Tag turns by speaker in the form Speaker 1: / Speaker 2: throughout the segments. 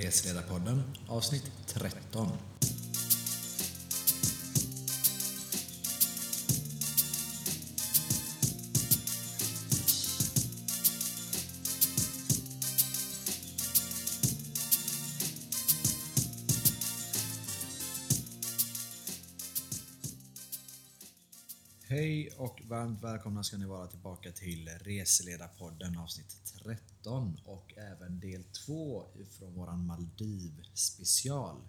Speaker 1: Resledarpodden avsnitt 13. Hej och varmt välkomna ska ni vara tillbaka till Reseledarpodden avsnitt 13 och även del 2 från våran Maldiv special.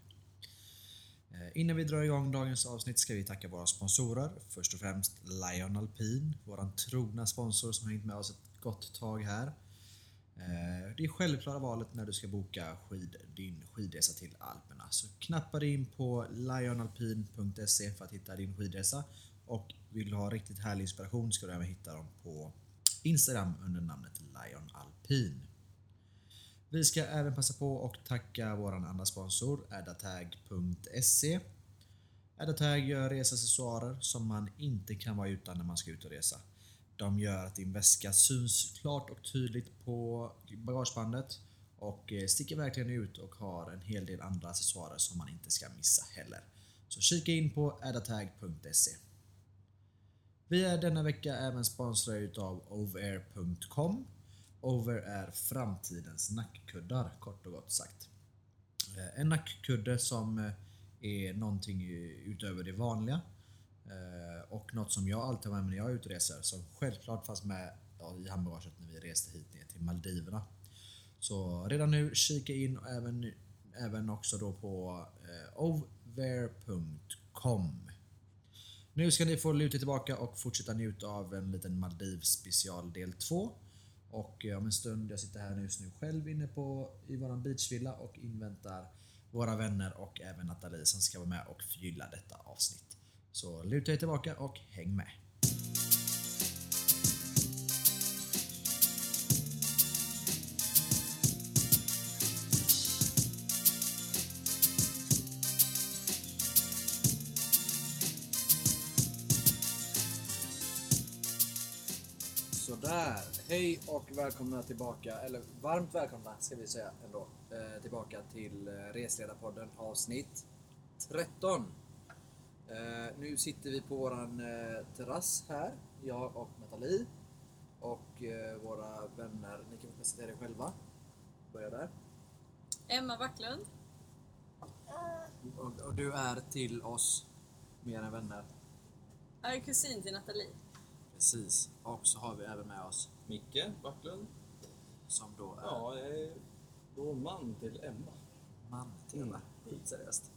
Speaker 1: Eh, Innan vi drar igång dagens avsnitt ska vi tacka våra sponsorer. Först och främst Lion Alpin, våran trogna sponsor som har hängt med oss ett gott tag här. Eh, Det är självklara valet när du ska boka skid, din skidresa till Alperna. Så knappa dig in på lionalpin.se för att hitta din skidresa. Och vill du ha riktigt härlig inspiration ska du även hitta dem på Instagram under namnet Lion Alpin. Vi ska även passa på och tacka våran andra sponsor addatag.se Addatag gör reseaccessoarer som man inte kan vara utan när man ska ut och resa. De gör att din väska syns klart och tydligt på bagagebandet och eh, sticker verkligen ut och har en hel del andra accessoarer som man inte ska missa heller. Så kika in på addatag.se vi är denna vecka även sponsrade utav overair.com. Over är framtidens nackkuddar, kort och gott sagt. Eh, En nackkudde som eh, är någonting eh, utöver det vanliga. Eh, Och något som jag alltid har med mig när jag är ute och reser, som självklart fanns med ja, i handbagaget när vi reste hit ner till Maldiverna. Så redan nu, kika in och även, även också då på eh, over.com. Nu ska ni få luta tillbaka och fortsätta njuta av en liten Maldiv special del 2. Och eh, om en stund, jag sitter här nu just nu själv inne på i våran beachvilla och inväntar våra vänner och även Nathalie som ska vara med och förgylla detta avsnitt. Så luta er tillbaka och häng med! Sådär! Hej och välkomna tillbaka, eller varmt välkomna ska vi säga ändå, eh, tillbaka till eh, Resledarpodden avsnitt 13. Eh, nu sitter vi på våran eh, terrass här, jag och Nathalie och eh, våra vänner. Ni kan presentera er själva. Börja där.
Speaker 2: Emma Backlund.
Speaker 1: Och, och du är till oss mer än vänner.
Speaker 2: Jag är kusin till Nathalie.
Speaker 1: Precis. Och så har vi även med oss
Speaker 3: Micke Backlund.
Speaker 1: som då är
Speaker 3: Ja, jag är då man till Emma.
Speaker 1: man till. Mm. Seriöst.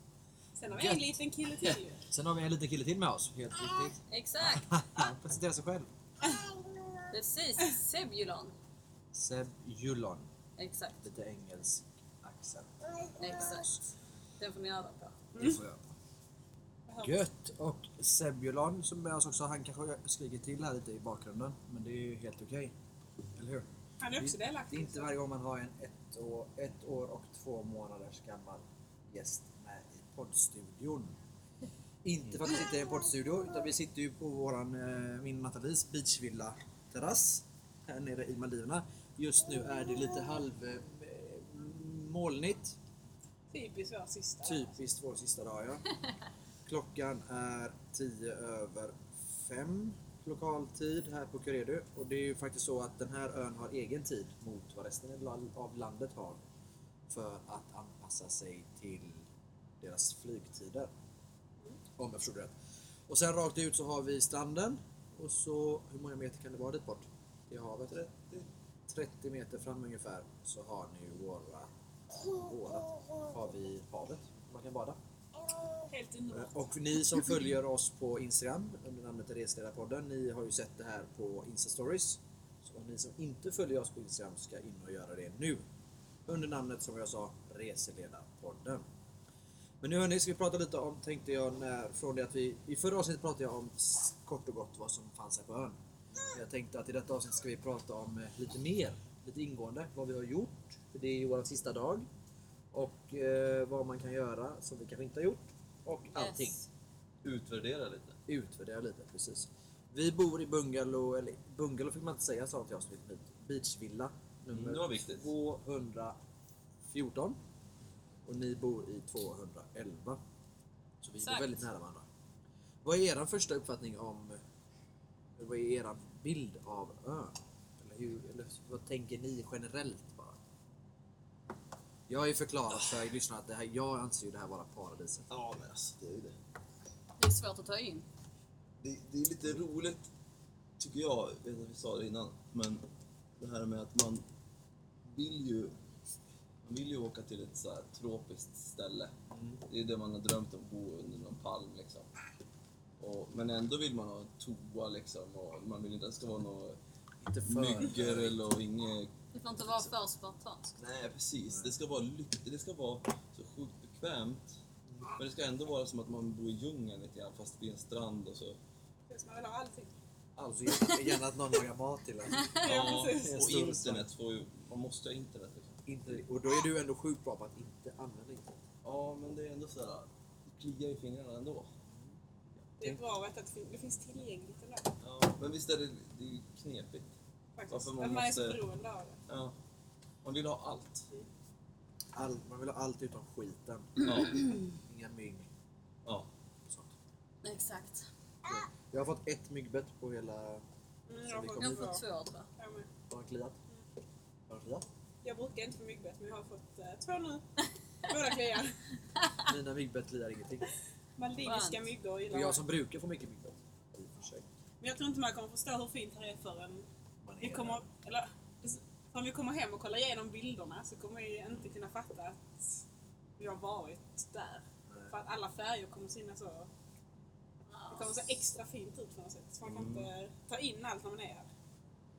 Speaker 4: Sen har vi en
Speaker 1: Gött.
Speaker 4: liten kille till ju.
Speaker 1: Sen har vi en liten kille till med oss, helt riktigt.
Speaker 2: Exakt!
Speaker 1: Han presenterar sig själv.
Speaker 2: Precis! Sebulon.
Speaker 1: Seb Julon.
Speaker 2: Exakt,
Speaker 1: Lite engelsk accent.
Speaker 2: exakt. Den får ni öva på.
Speaker 4: Mm.
Speaker 1: Det får jag.
Speaker 4: Behöver-
Speaker 1: Gött! Och Seb Julon som med oss också, han kanske skriker till här lite i bakgrunden. Men det är ju helt okej. Eller hur?
Speaker 4: Han är också
Speaker 1: Det är
Speaker 4: delaktig.
Speaker 1: inte varje gång man har en ett år, ett år och två månaders gammal gäst med i poddstudion. Inte för att vi sitter i en poddstudio, utan vi sitter ju på våran, eh, min och Nathalies beachvilla terrass här nere i Maldiverna. Just nu är det lite halv eh, molnigt.
Speaker 4: Typiskt vår sista.
Speaker 1: Typiskt vår sista dag ja. Klockan är 10 över 5 lokaltid här på Kuredu. Och det är ju faktiskt så att den här ön har egen tid mot vad resten av land- av landet har. För att anpassa sig till deras flygtider. Om jag förstod det rätt. Och sen rakt ut så har vi stranden. Och så, hur många meter kan det vara dit bort? Till havet? 30, 30 meter fram ungefär så har ni ju våra vårat har vi havet. Man kan bada. Eh,
Speaker 4: Helt underbart.
Speaker 1: Och ni som följer oss på Instagram under namnet Resledarpodden, ni har ju sett det här på Instastories. Så om ni som inte följer oss på Instagram ska in och göra det nu. Under namnet som jag sa, Reseledarpodden. Men nu hörni, ska vi prata lite om, tänkte jag, när, från det att vi... I förra avsnittet pratade jag om s- kort och gott vad som fanns här på ön. Jag tänkte att i detta avsnitt ska vi prata om eh, lite mer, lite ingående, vad vi har gjort. För det är ju vår sista dag. Och eh, vad man kan göra som vi kanske inte har gjort. Och allting
Speaker 2: Yes.
Speaker 3: Utvärdera lite.
Speaker 1: utvärdera lite, precis. Vi bor i bungalow, eller bungalow fick man inte säga sa inte jag som beachvilla. Nummer
Speaker 3: Mm, det var viktigt.
Speaker 1: 214. och ni bor i 211. Så vi bor
Speaker 2: Exakt.
Speaker 1: väldigt nära varandra. Vad är er första uppfattning om... eller Vad är er bild av ön? Eller, hur, eller vad tänker ni generellt bara? Jag har ju förklarat för lyssnarna att det här, jag anser ju det här vara paradiset.
Speaker 3: Ja, men alltså det är ju det.
Speaker 2: Det är svårt att ta in.
Speaker 3: det. Det är lite roligt, tycker jag. Jag vet att vi sa det innan, men det här med att man vill ju... Man vill ju åka till ett så här tropiskt ställe. Det är det man har drömt om, bo under någon palm liksom. Och, men ändå vill man ha toa liksom och man vill inte att det ska vara något
Speaker 1: Inte för...
Speaker 3: mygel och inget
Speaker 2: Det får inte vara för spartanskt.
Speaker 3: Nej, precis. Det ska vara lyck- det ska vara så sjukt bekvämt. Men det ska ändå vara som att man bor i djungeln lite grann fast vid en strand och så.
Speaker 4: Precis, man vill ha allting.
Speaker 1: Alltså gärna, gärna att någon lagar mat till en.
Speaker 4: Ja, precis.
Speaker 3: och internet får ju... Man måste ha internet liksom.
Speaker 1: Inte, och då är du ändå sjukt bra på att inte använda internet.
Speaker 3: Ja, men det är ändå sådär... Det kliar i fingrarna ändå.
Speaker 4: Det är bra att veta att det fin- det finns tillgängligt ändå.
Speaker 3: Ja, men visst är det, det är ju knepigt.
Speaker 4: Faktiskt.
Speaker 3: Varför
Speaker 4: Att
Speaker 3: man
Speaker 4: man är så
Speaker 3: måste-
Speaker 4: beroende av det.
Speaker 3: Ja. Man vill ha allt.
Speaker 1: All, man vill ha allt utom skiten.
Speaker 3: Ja.
Speaker 1: Inga mygg.
Speaker 3: ja.
Speaker 1: och sånt.
Speaker 2: Exakt.
Speaker 1: Jag har fått ett myggbett på hela...
Speaker 4: Mm,
Speaker 1: Så
Speaker 4: jag,
Speaker 1: vi
Speaker 4: har
Speaker 1: kommer-
Speaker 4: fått,
Speaker 2: Jag får två tror jag.
Speaker 4: ja, men
Speaker 1: Har de kliat? Har de kliat?
Speaker 4: jag brukar inte få myggbett men jag har fått eh, två nu. Båda kliar.
Speaker 1: Mina myggbett kliar ingenting.
Speaker 4: Maldiviska
Speaker 2: Skönt.
Speaker 1: Det
Speaker 4: myggor
Speaker 1: är
Speaker 4: gillar
Speaker 1: jag
Speaker 4: jag.
Speaker 1: som brukar få mycket myggbett. I och för sig.
Speaker 4: Men jag tror inte man kommer förstå hur fint här är förrän
Speaker 1: Man är-
Speaker 4: vi kommer, eller, förrän vi kommer hem och kollar igenom bilderna så kommer vi inte kunna fatta att vi har varit där.
Speaker 1: Eh,
Speaker 4: För att alla färger kommer synas så... Det kommer se extra fint ut på något sätt. Så man kan
Speaker 1: Mm.
Speaker 4: inte ta in allt när man är här.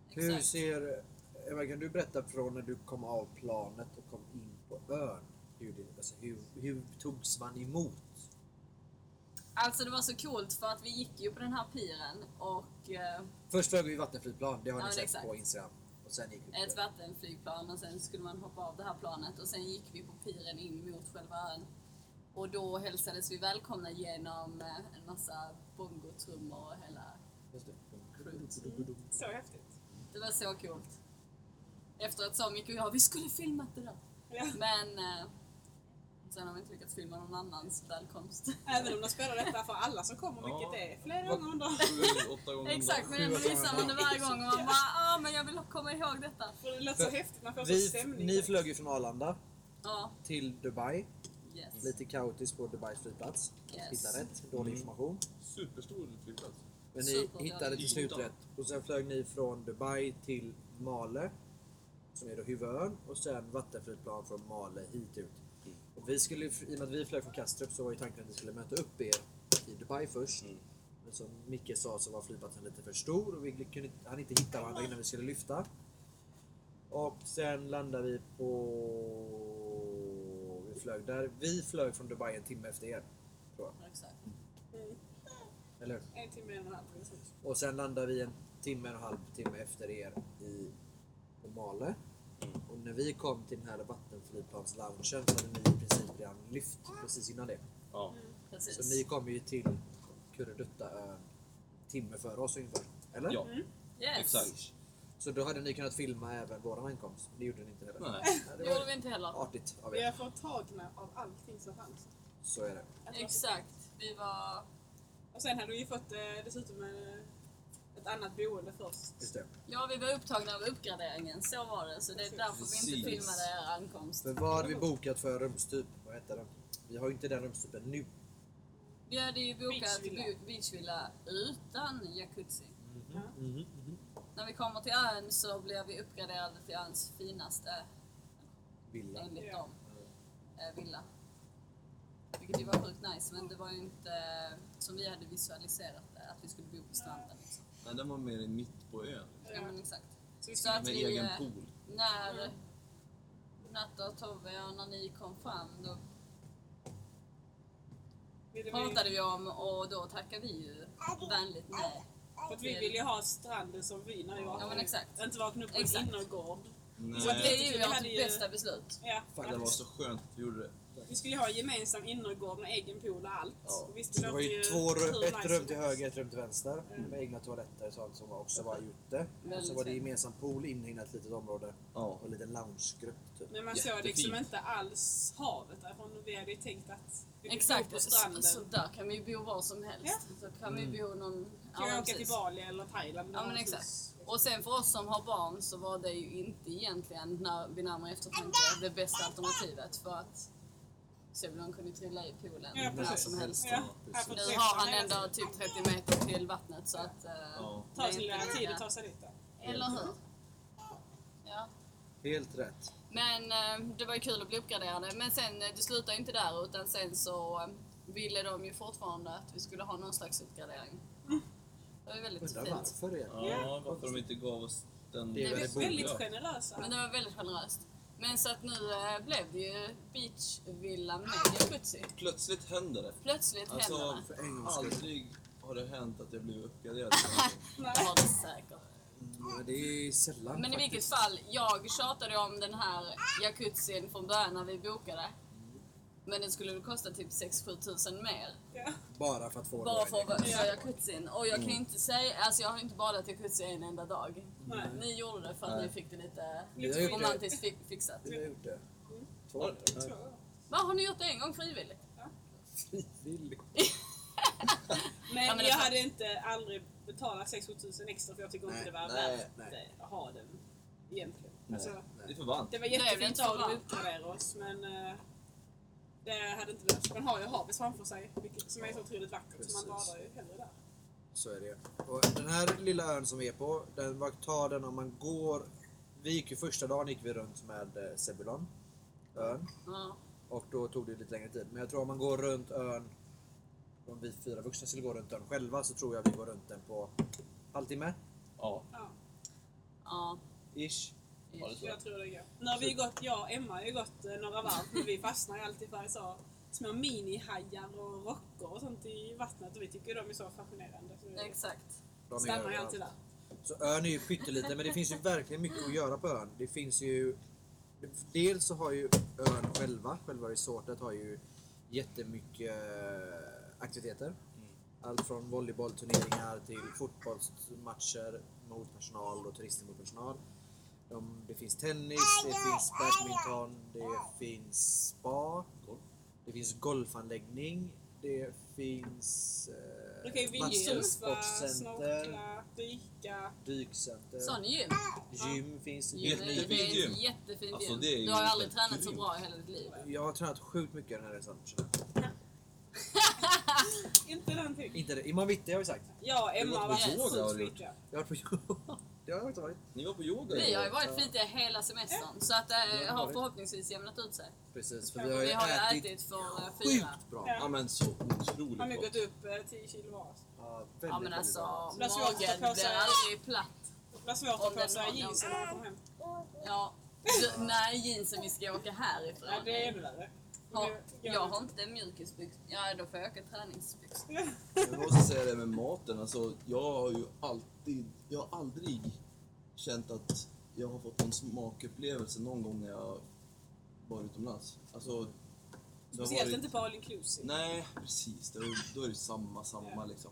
Speaker 1: Hur
Speaker 2: Exakt.
Speaker 1: ser... Eva, kan du berätta från när du kom av planet och kom in på ön? Hur, det, alltså, hur, hur togs man emot?
Speaker 2: Alltså det var så coolt för att vi gick ju på den här piren och eh,
Speaker 1: Först flög vi vattenflygplan, det har
Speaker 2: Ja,
Speaker 1: ni
Speaker 2: det
Speaker 1: sett
Speaker 2: är exakt.
Speaker 1: på Instagram. Och sen gick vi
Speaker 2: ett vattenflygplan och sen skulle man hoppa av det här planet och sen gick vi på piren in mot själva ön. Och då hälsades vi välkomna genom eh, en massa bongotrummor och hela...
Speaker 1: Just det.
Speaker 4: Så häftigt.
Speaker 2: Det var så coolt. Efteråt sa Micke och jag vi skulle filmat det där.
Speaker 4: Ja.
Speaker 2: Men eh, sen har vi inte lyckats filma någon annans välkomst.
Speaker 4: Även om de spelar detta för alla som kommer,
Speaker 3: Ja.
Speaker 4: vilket är flera gånger om dagen.
Speaker 3: Sju, åtta gånger om
Speaker 2: Exakt,
Speaker 3: dagen.
Speaker 2: men ändå visar man det varje gång och man bara ah, men jag vill komma ihåg detta.
Speaker 4: För det låter så häftigt, man får så
Speaker 1: Vi,
Speaker 4: stämning.
Speaker 1: ni flög ju från Arlanda
Speaker 2: Ja,
Speaker 1: till Dubai.
Speaker 2: yes.
Speaker 1: Lite kaotiskt på Dubais flygplats.
Speaker 2: Yes.
Speaker 1: Hitta rätt, dålig information.
Speaker 3: Superstor flygplats.
Speaker 1: Men ni
Speaker 2: Superdålig.
Speaker 1: hittade till slut
Speaker 3: Ytan.
Speaker 1: rätt. Och sen flög ni från Dubai till Male, som är då huvudön. Och sen vattenflygplan från Male hit ut. Och vi skulle, ju- I och med att vi flög från Kastrup så var ju tanken att vi skulle möta upp er i Dubai först. Men som Micke sa så var flygplatsen lite för stor och vi kunde, hann inte hitta varandra innan vi skulle lyfta. Och sen landade vi på... Vi flög där. Vi flög från Dubai en timme efter er. Tror jag.
Speaker 2: Exakt.
Speaker 4: Mm.
Speaker 1: Eller hur?
Speaker 4: En timme, en och en halv precis.
Speaker 1: Och sen landar vi en timme och en halv timme efter er i på Male. Och när vi kom till den här vattenflygplansloungen så hade ni i princip redan lyft precis innan det.
Speaker 3: Ja.
Speaker 1: Så
Speaker 2: Precis.
Speaker 1: ni kom ju till Kurreduttaön timme före oss ungefär. Eller?
Speaker 3: Ja,
Speaker 2: yes.
Speaker 3: exakt.
Speaker 1: Så då hade ni kunnat filma även våran ankomst. Det gjorde ni inte heller.
Speaker 3: Nej.
Speaker 1: Nej,
Speaker 2: Det
Speaker 1: det var
Speaker 2: gjorde vi inte heller.
Speaker 1: artigt av
Speaker 4: Vi
Speaker 1: er.
Speaker 4: är förtagna av allting som fanns.
Speaker 1: Så är det.
Speaker 4: Att det var så
Speaker 2: Exakt. Vi var...
Speaker 4: Och sen hade vi ju fått eh, dessutom eh, ett annat boende först.
Speaker 1: Just det.
Speaker 2: Ja, vi var upptagna av uppgraderingen. Så var det. Så det är därför vi inte
Speaker 3: Precis.
Speaker 2: filmade er ankomst.
Speaker 1: För vad hade vi bokat för rumstyp? Vad hette den? Vi har ju inte den rumstypen nu.
Speaker 2: Vi hade ju bokat
Speaker 4: Beachvilla. Mm-hmm.
Speaker 2: bo- beachvilla utan jacuzzi.
Speaker 4: Ja.
Speaker 2: När vi kommer till ön så blev vi uppgraderade till öns finaste,
Speaker 1: Villa.
Speaker 2: enligt
Speaker 4: Ja.
Speaker 2: dem, eh, villa. Vilket ju var sjukt nice, men det var ju inte eh, som vi hade visualiserat det, att vi skulle bo på stranden. Liksom.
Speaker 3: Nej, den var mer i mitt på ön.
Speaker 2: Ja, men exakt.
Speaker 4: Eh, Så vi
Speaker 2: Så att
Speaker 3: Med
Speaker 2: vi,
Speaker 3: egen
Speaker 2: eh,
Speaker 3: pool.
Speaker 2: när Natta och Tobbe och när ni kom fram då
Speaker 4: ville vi,
Speaker 2: pratade vi om och då tackade vi ju vänligt nej.
Speaker 4: för att vi ville ju ha stranden som vi när jag
Speaker 2: Ja, men exakt.
Speaker 4: inte vakna upp på en
Speaker 2: Exakt.
Speaker 4: innergård.
Speaker 3: Nej,
Speaker 2: Så att det är ju
Speaker 4: Vi hade
Speaker 2: vårt
Speaker 4: ju-
Speaker 2: bästa beslut.
Speaker 4: Ja,
Speaker 1: Fuck,
Speaker 3: det
Speaker 4: ja.
Speaker 3: var så skönt att vi gjorde det.
Speaker 4: Vi skulle ju ha gemensam innergård med egen pool och allt.
Speaker 3: Ja.
Speaker 4: Och Visst,
Speaker 1: Så det var
Speaker 4: låter
Speaker 1: ju två
Speaker 4: eh, hur
Speaker 1: rum, ett
Speaker 4: nice
Speaker 1: rum
Speaker 4: som
Speaker 1: till
Speaker 4: helst.
Speaker 1: höger, ett rum till vänster
Speaker 4: Mm.
Speaker 1: med egna toaletter och sånt som var också var ute. Och så
Speaker 2: Väldigt
Speaker 1: var det
Speaker 2: fint.
Speaker 1: gemensam pool inne i ett litet område
Speaker 3: Ja.
Speaker 1: och en liten loungegrupp. Typ.
Speaker 4: Men man såg
Speaker 3: Jättefint.
Speaker 4: liksom inte alls havet därifrån och vi hade ju tänkt att vi vill bo på
Speaker 2: Exakt, så,
Speaker 4: stranden.
Speaker 2: så där kan vi ju bo var som helst. Så kan vi bo någon...
Speaker 4: kan vi
Speaker 2: ja,
Speaker 4: åka till
Speaker 2: precis.
Speaker 4: Bali eller Thailand?
Speaker 2: Ja men exakt. Och sen för oss som har barn så var det ju inte egentligen när vi närmare eftertanke det bästa alternativet för att Sebulon kunde ju trilla i poolen
Speaker 4: Ja,
Speaker 2: när
Speaker 4: precis.
Speaker 2: som helst.
Speaker 4: Ja, här
Speaker 2: Nu
Speaker 4: får träffa
Speaker 2: har han
Speaker 4: hela tiden.
Speaker 2: ändå typ 30 meter till vattnet så att... eh,
Speaker 3: Ja.
Speaker 2: det är
Speaker 4: Ta
Speaker 2: inte
Speaker 4: sin lilla
Speaker 2: lika-
Speaker 4: tid att ta sig dit. då.
Speaker 2: Eller hur? Ja.
Speaker 1: Helt rätt.
Speaker 2: Men eh, det var ju kul att bli uppgraderade. Men sen, eh, det slutade ju inte där utan sen så eh, ville de ju fortfarande att vi skulle ha någon slags uppgradering. Det var ju väldigt
Speaker 1: Undrar
Speaker 2: fint.
Speaker 1: varför egentligen?
Speaker 3: Ja, varför de inte gav oss den...
Speaker 1: Det är
Speaker 4: De
Speaker 1: väldigt
Speaker 4: är väldigt
Speaker 3: Ja.
Speaker 4: generösa.
Speaker 2: Men det var väldigt generöst. Men så att nu eh, blev det ju beachvilla med jacuzzi.
Speaker 3: Plötsligt händer det.
Speaker 2: Plötsligt händer
Speaker 3: Alltså,
Speaker 2: det.
Speaker 1: För en gångs skull.
Speaker 3: aldrig har det hänt att jag blivit uppgraderad.
Speaker 4: Nej.
Speaker 2: Det har det säkert.
Speaker 1: Ja, Mm, det är sällan
Speaker 2: Men i vilket
Speaker 1: faktiskt.
Speaker 2: fall, jag tjatade om den här jacuzzin från början när vi bokade. Men den skulle väl kosta typ 6-7 tusen mer.
Speaker 4: Ja.
Speaker 1: Bara för att få
Speaker 2: Bara för att
Speaker 1: det.
Speaker 2: vara för jacuzzin. Och jag kan ju inte säga, alltså jag har ju inte badat i jacuzzi en enda dag.
Speaker 4: Nej.
Speaker 2: Ni gjorde det för att
Speaker 3: Nej.
Speaker 2: ni fick det lite
Speaker 1: Vi har gjort det.
Speaker 2: romantiskt fi- fixat.
Speaker 1: Vi har gjort det. Två
Speaker 3: Ja.
Speaker 1: gånger.
Speaker 4: Tror jag.
Speaker 2: Vad har ni gjort det en gång frivilligt?
Speaker 1: Frivilligt.
Speaker 4: Men,
Speaker 2: Ja, men
Speaker 4: jag
Speaker 2: det-
Speaker 4: hade inte aldrig betalat 6 tusen extra för jag tycker inte
Speaker 1: Nej,
Speaker 4: det var
Speaker 3: nej,
Speaker 4: värt
Speaker 1: nej.
Speaker 4: att ha den egentligen.
Speaker 3: Nej.
Speaker 4: Alltså,
Speaker 3: Det är för varmt.
Speaker 4: det var
Speaker 2: Nej, det är
Speaker 4: jättefint
Speaker 2: inte
Speaker 4: av dem att
Speaker 2: sant.
Speaker 4: uppgradera oss men eh, det hade inte behövts. Man har ju havet framför sig vilket, som är så otroligt vackert så man
Speaker 1: Precis.
Speaker 4: badar ju hellre där.
Speaker 1: Så är det. Och den här lilla ön som vi är på, den var tar den om man går... Vi gick ju första dagen gick vi runt med eh, Sebulon, ön.
Speaker 2: Ja.
Speaker 1: Och då tog det lite längre tid. Men jag tror om man går runt ön, om vi fyra vuxna skulle gå runt ön själva så tror jag vi går runt den på halvtimme,
Speaker 3: Ja,
Speaker 4: Ja,
Speaker 2: ja.
Speaker 1: ish.
Speaker 3: ja
Speaker 1: Alltså.
Speaker 3: det tror jag.
Speaker 4: jag tror det går. Nu har vi ju gått, jag och Emma har ju gått eh, några varv men vi fastnar ju alltid för så små minihajar och rockor och sånt i vattnet och vi tycker de är så fascinerande. Så vi
Speaker 2: Exakt.
Speaker 1: De är
Speaker 4: stannar ju
Speaker 1: överallt.
Speaker 4: alltid där.
Speaker 1: Så ön är ju pytteliten men det finns ju verkligen mycket att göra på ön. Det finns ju... Dels så har ju ön själva, själva resortet har ju jättemycket eh, aktiviteter. Allt från volleybollturneringar till fotbollsmatcher mot personal och turister mot personal. De, det finns tennis, det finns badminton, det finns spa.
Speaker 3: Golf.
Speaker 1: Det finns golfanläggning. Det finns eh,
Speaker 4: Då kan ju vi surfa, snorkla, dyka.
Speaker 1: dykcenter.
Speaker 2: Sån gym.
Speaker 1: Gym finns
Speaker 2: Gym är-
Speaker 3: Jättefint
Speaker 2: det är
Speaker 3: gym.
Speaker 2: ett jättefint
Speaker 3: Alltså,
Speaker 2: gym.
Speaker 3: det är ju
Speaker 2: Du har ju aldrig tränat så
Speaker 3: grymt.
Speaker 2: bra i hela ditt liv.
Speaker 1: Jag har tränat sjukt mycket den här resan.
Speaker 4: Inte någonting.
Speaker 1: Inte det. I Manvitte har vi sagt.
Speaker 4: Jag och Emma
Speaker 3: Det
Speaker 4: har
Speaker 2: som
Speaker 3: låter
Speaker 4: varit
Speaker 3: yoga har du gjort.
Speaker 4: skitflitiga.
Speaker 1: Jag har varit på Det har jag inte varit.
Speaker 3: Ni var på yoga
Speaker 2: Vi har ju
Speaker 3: igår.
Speaker 2: varit flitiga hela semestern så att det
Speaker 1: har
Speaker 2: har
Speaker 1: varit.
Speaker 2: förhoppningsvis jämnat ut sig.
Speaker 1: Precis,
Speaker 4: Ja,
Speaker 1: för vi har ju
Speaker 2: Vi har ju
Speaker 1: ätit,
Speaker 2: ätit för eh, fyra.
Speaker 1: sjukt bra.
Speaker 4: Ja.
Speaker 3: Ja men så
Speaker 4: Har nu
Speaker 3: otroligt
Speaker 4: gått
Speaker 3: gott.
Speaker 4: upp eh, 10 kilo var.
Speaker 1: Ja, väldigt,
Speaker 2: Ja men
Speaker 1: väldigt
Speaker 2: alltså,
Speaker 1: bra.
Speaker 4: Det är svårt att ta
Speaker 2: magen
Speaker 4: på sig-
Speaker 2: blir aldrig platt.
Speaker 4: Det var svårt
Speaker 2: Om
Speaker 4: att
Speaker 2: den
Speaker 4: få sig
Speaker 2: var
Speaker 4: jeans när man kom hem.
Speaker 2: Ja. Du, nej, jeansen vi ska åka härifrån.
Speaker 4: Ja, det är ännu värre.
Speaker 2: Ja,
Speaker 4: Det-
Speaker 2: jag har inte mjukisbyxor. Ja, då får jag åka träningsbyxor.
Speaker 3: Jag måste säga det med maten. Alltså, jag har ju alltid, jag har aldrig känt att jag har fått någon smakupplevelse någon gång när jag var utomlands. Alltså, det har
Speaker 4: Speciellt
Speaker 3: varit-
Speaker 4: inte på all inclusive.
Speaker 3: Nej, precis. Då, då är det samma, samma
Speaker 4: Ja.
Speaker 3: liksom.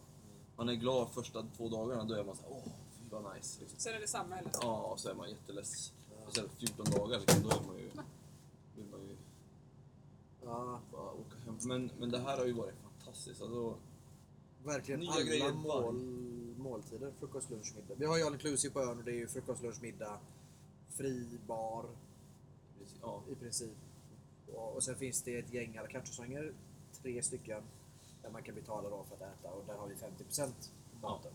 Speaker 3: Man är glad första två dagarna, då är man såhär åh, fy vad nice. Liksom.
Speaker 4: Sen är det samma heller.
Speaker 3: Ja, och så är man jätteless. Och sen 14 dagar, liksom, då är man ju, vill man ju
Speaker 1: Ja,
Speaker 3: bara åka hem. Men, men det här har ju varit fantastiskt. Alltså,
Speaker 1: verkligen
Speaker 3: Nya
Speaker 1: alla
Speaker 3: grejer
Speaker 1: mål, måltider. Frukost, lunch, middag. Vi har ju all inclusive på ön och det är ju frukost, lunch, middag, fri bar
Speaker 3: ja,
Speaker 1: i princip. Och, och sen finns det ett gäng à la carte-restauranger, tre stycken, där man kan betala då för att äta och där har vi 50% maten.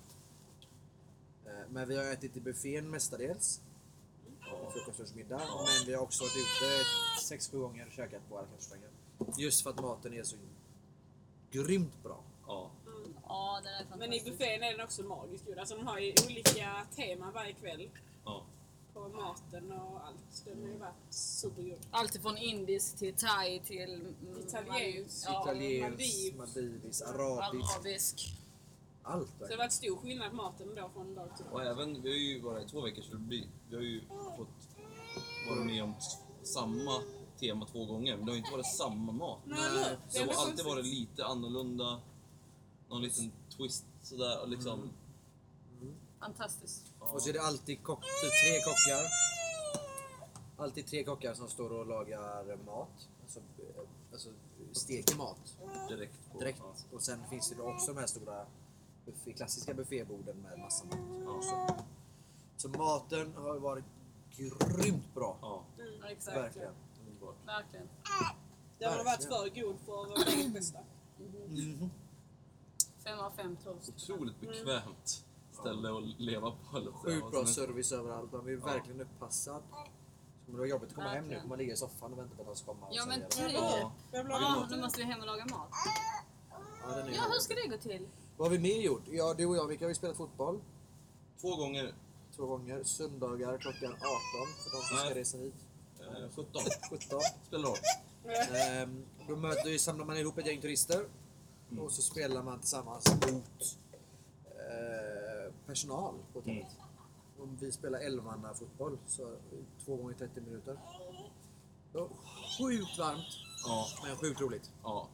Speaker 1: Eh, Men vi har ätit i buffén mestadels. Och frukost, lunch, middag. Men vi har också varit ute 6-7 gånger och käkat på alla restauranger. Just för att maten är så grymt bra.
Speaker 3: ja.
Speaker 2: Ja, den är
Speaker 4: Men i
Speaker 2: fantastisk.
Speaker 4: buffén är den också magisk. gud. Alltså, de har ju olika teman varje kväll
Speaker 3: ja.
Speaker 4: på maten och allt. Den har ju varit supergod.
Speaker 2: Allt från indisk till thai till... mm,
Speaker 4: Italiensk.
Speaker 2: Ja,
Speaker 1: Italienskt,
Speaker 4: Maldiv.
Speaker 1: maldiviskt, arabiskt.
Speaker 2: arabisk.
Speaker 1: Allt
Speaker 4: Så det
Speaker 1: verkligen.
Speaker 4: var ett stor skillnad på maten då från dag till dag.
Speaker 3: Och även, vi har ju varit i två veckors förbi. Vi har ju fått varit med om samma tema två gånger, men det har ju inte varit samma mat.
Speaker 4: Nej, eller hur?
Speaker 3: Det har
Speaker 4: blir
Speaker 3: alltid varit
Speaker 4: konstigt.
Speaker 3: lite annorlunda, någon liten twist sådär och liksom...
Speaker 2: Fantastiskt.
Speaker 3: Ja.
Speaker 1: Och så är det alltid kock, typ tre kockar. Alltid tre kockar som står och lagar mat. Alltså, eh, alltså steker mat
Speaker 3: direkt på.
Speaker 1: direkt.
Speaker 3: Ja.
Speaker 1: Och sen finns det då också de här stora buffé, klassiska bufféborden med massa mat.
Speaker 3: Ja.
Speaker 1: Så, så maten har varit grymt bra.
Speaker 3: Ja,
Speaker 2: Ja, exakt.
Speaker 1: Verkligen.
Speaker 3: underbart.
Speaker 2: Verkligen.
Speaker 4: Den Mm. har varit för
Speaker 1: Verkligen.
Speaker 4: god för vårt eget bästa.
Speaker 2: Mm-hmm. Fem av fem toast.
Speaker 3: Otroligt bekvämt ställe att leva på. eller så.
Speaker 1: Sjukt bra
Speaker 3: Och sen-
Speaker 1: service överallt. Man blir verkligen uppassad. Så kommer det vara jobbigt att komma hem nu.
Speaker 2: Verkligen.
Speaker 1: Kommer man ligga i soffan och vänta på att de ska komma. och
Speaker 2: Ja, men
Speaker 1: servera.
Speaker 2: typ.
Speaker 3: Ja.
Speaker 4: Jag blev
Speaker 2: Ja,
Speaker 4: glad.
Speaker 2: nu måste vi hem och laga mat.
Speaker 1: ja, den är
Speaker 2: Ja, hur ska det gå till?
Speaker 1: Vad har vi mer gjort? Ja, du och jag, vi har ju spelat fotboll.
Speaker 3: Två gånger
Speaker 1: två gånger. Söndagar klockan 18 för de som ska
Speaker 3: Nej.
Speaker 1: resa hit.
Speaker 3: eh, 17
Speaker 1: 17.
Speaker 3: spelar roll.
Speaker 1: Ehm, då möter, samlar man ihop ett gäng turister
Speaker 3: Mm.
Speaker 1: och så spelar man tillsammans mot eh, personal på hotellet.
Speaker 3: Mm.
Speaker 1: Om vi spelar elvannafotboll, så två gånger 30 minuter. Det var sjukt varmt,
Speaker 3: Ja,
Speaker 1: men sjukt roligt.
Speaker 3: ja.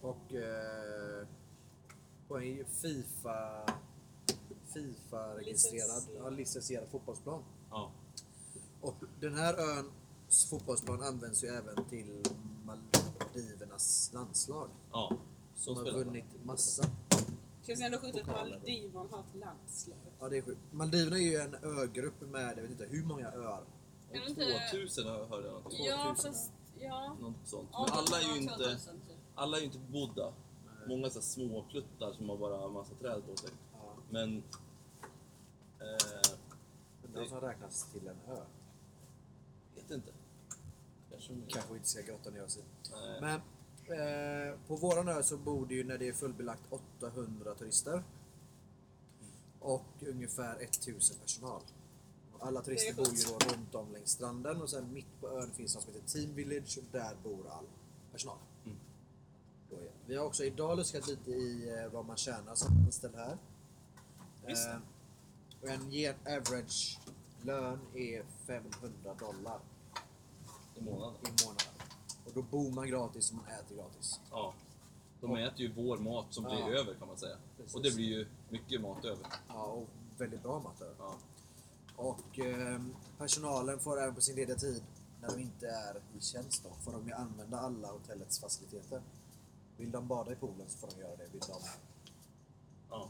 Speaker 1: Och eh, på en Fifa, Fifa-registrerad, ja, licensierad fotbollsplan.
Speaker 3: ja.
Speaker 1: Och den här öns fotbollsplan används ju även till Maldivernas landslag.
Speaker 3: Ja,
Speaker 1: Som
Speaker 3: så
Speaker 1: har
Speaker 3: spelar man.
Speaker 1: vunnit massa.
Speaker 4: Känns ändå sjukt att
Speaker 1: Pokaler.
Speaker 4: Maldiverna har ett landslag.
Speaker 1: Ja, det är sjukt. Maldiverna är ju en ögrupp med, jag vet inte hur många öar.
Speaker 2: Är det inte-
Speaker 3: 2000 har jag hört någonting.
Speaker 2: Ja,
Speaker 1: 2000.
Speaker 2: fast... Ja.
Speaker 3: Något sånt.
Speaker 2: Ja,
Speaker 3: Men alla är ju
Speaker 2: ja,
Speaker 3: inte,
Speaker 2: 2000 typ.
Speaker 3: alla är ju inte bebodda. Många så här små pluttar som har bara massa träd på sig.
Speaker 1: Ja,
Speaker 3: Men... Eh,
Speaker 1: men de som räknas till en ö.
Speaker 3: vet inte. Kanske mer.
Speaker 1: Kanske vi inte ska grotta ner oss i.
Speaker 3: Nej.
Speaker 1: Men eh, på våran ö så bor det ju när det är fullbelagt 800 turister. Och ungefär 1000 personal. Och Alla turister
Speaker 4: Det
Speaker 1: bor
Speaker 4: är sjukt.
Speaker 1: ju då runt om längs stranden och sen mitt på ön finns något som heter Team Village och där bor all personal.
Speaker 3: Mm.
Speaker 1: Då är- Vi har också idag luskat lite i eh, vad man tjänar som anställd här.
Speaker 4: Just det.
Speaker 1: Eh, och en gen- average lön är 500 dollar
Speaker 3: I månaden.
Speaker 1: i månaden. Och då bor man gratis och man äter gratis.
Speaker 3: Ja. De äter ju vår mat som blir
Speaker 1: Ja.
Speaker 3: över kan man säga.
Speaker 1: Precis.
Speaker 3: Och det blir ju mycket mat över.
Speaker 1: Ja, och väldigt bra mat där.
Speaker 3: Ja.
Speaker 1: Och ehm, personalen får även på sin lediga tid, när de inte är i tjänst då, får de ju använda alla hotellets faciliteter. Vill de bada i poolen så får de göra det. Vill de
Speaker 3: Ja.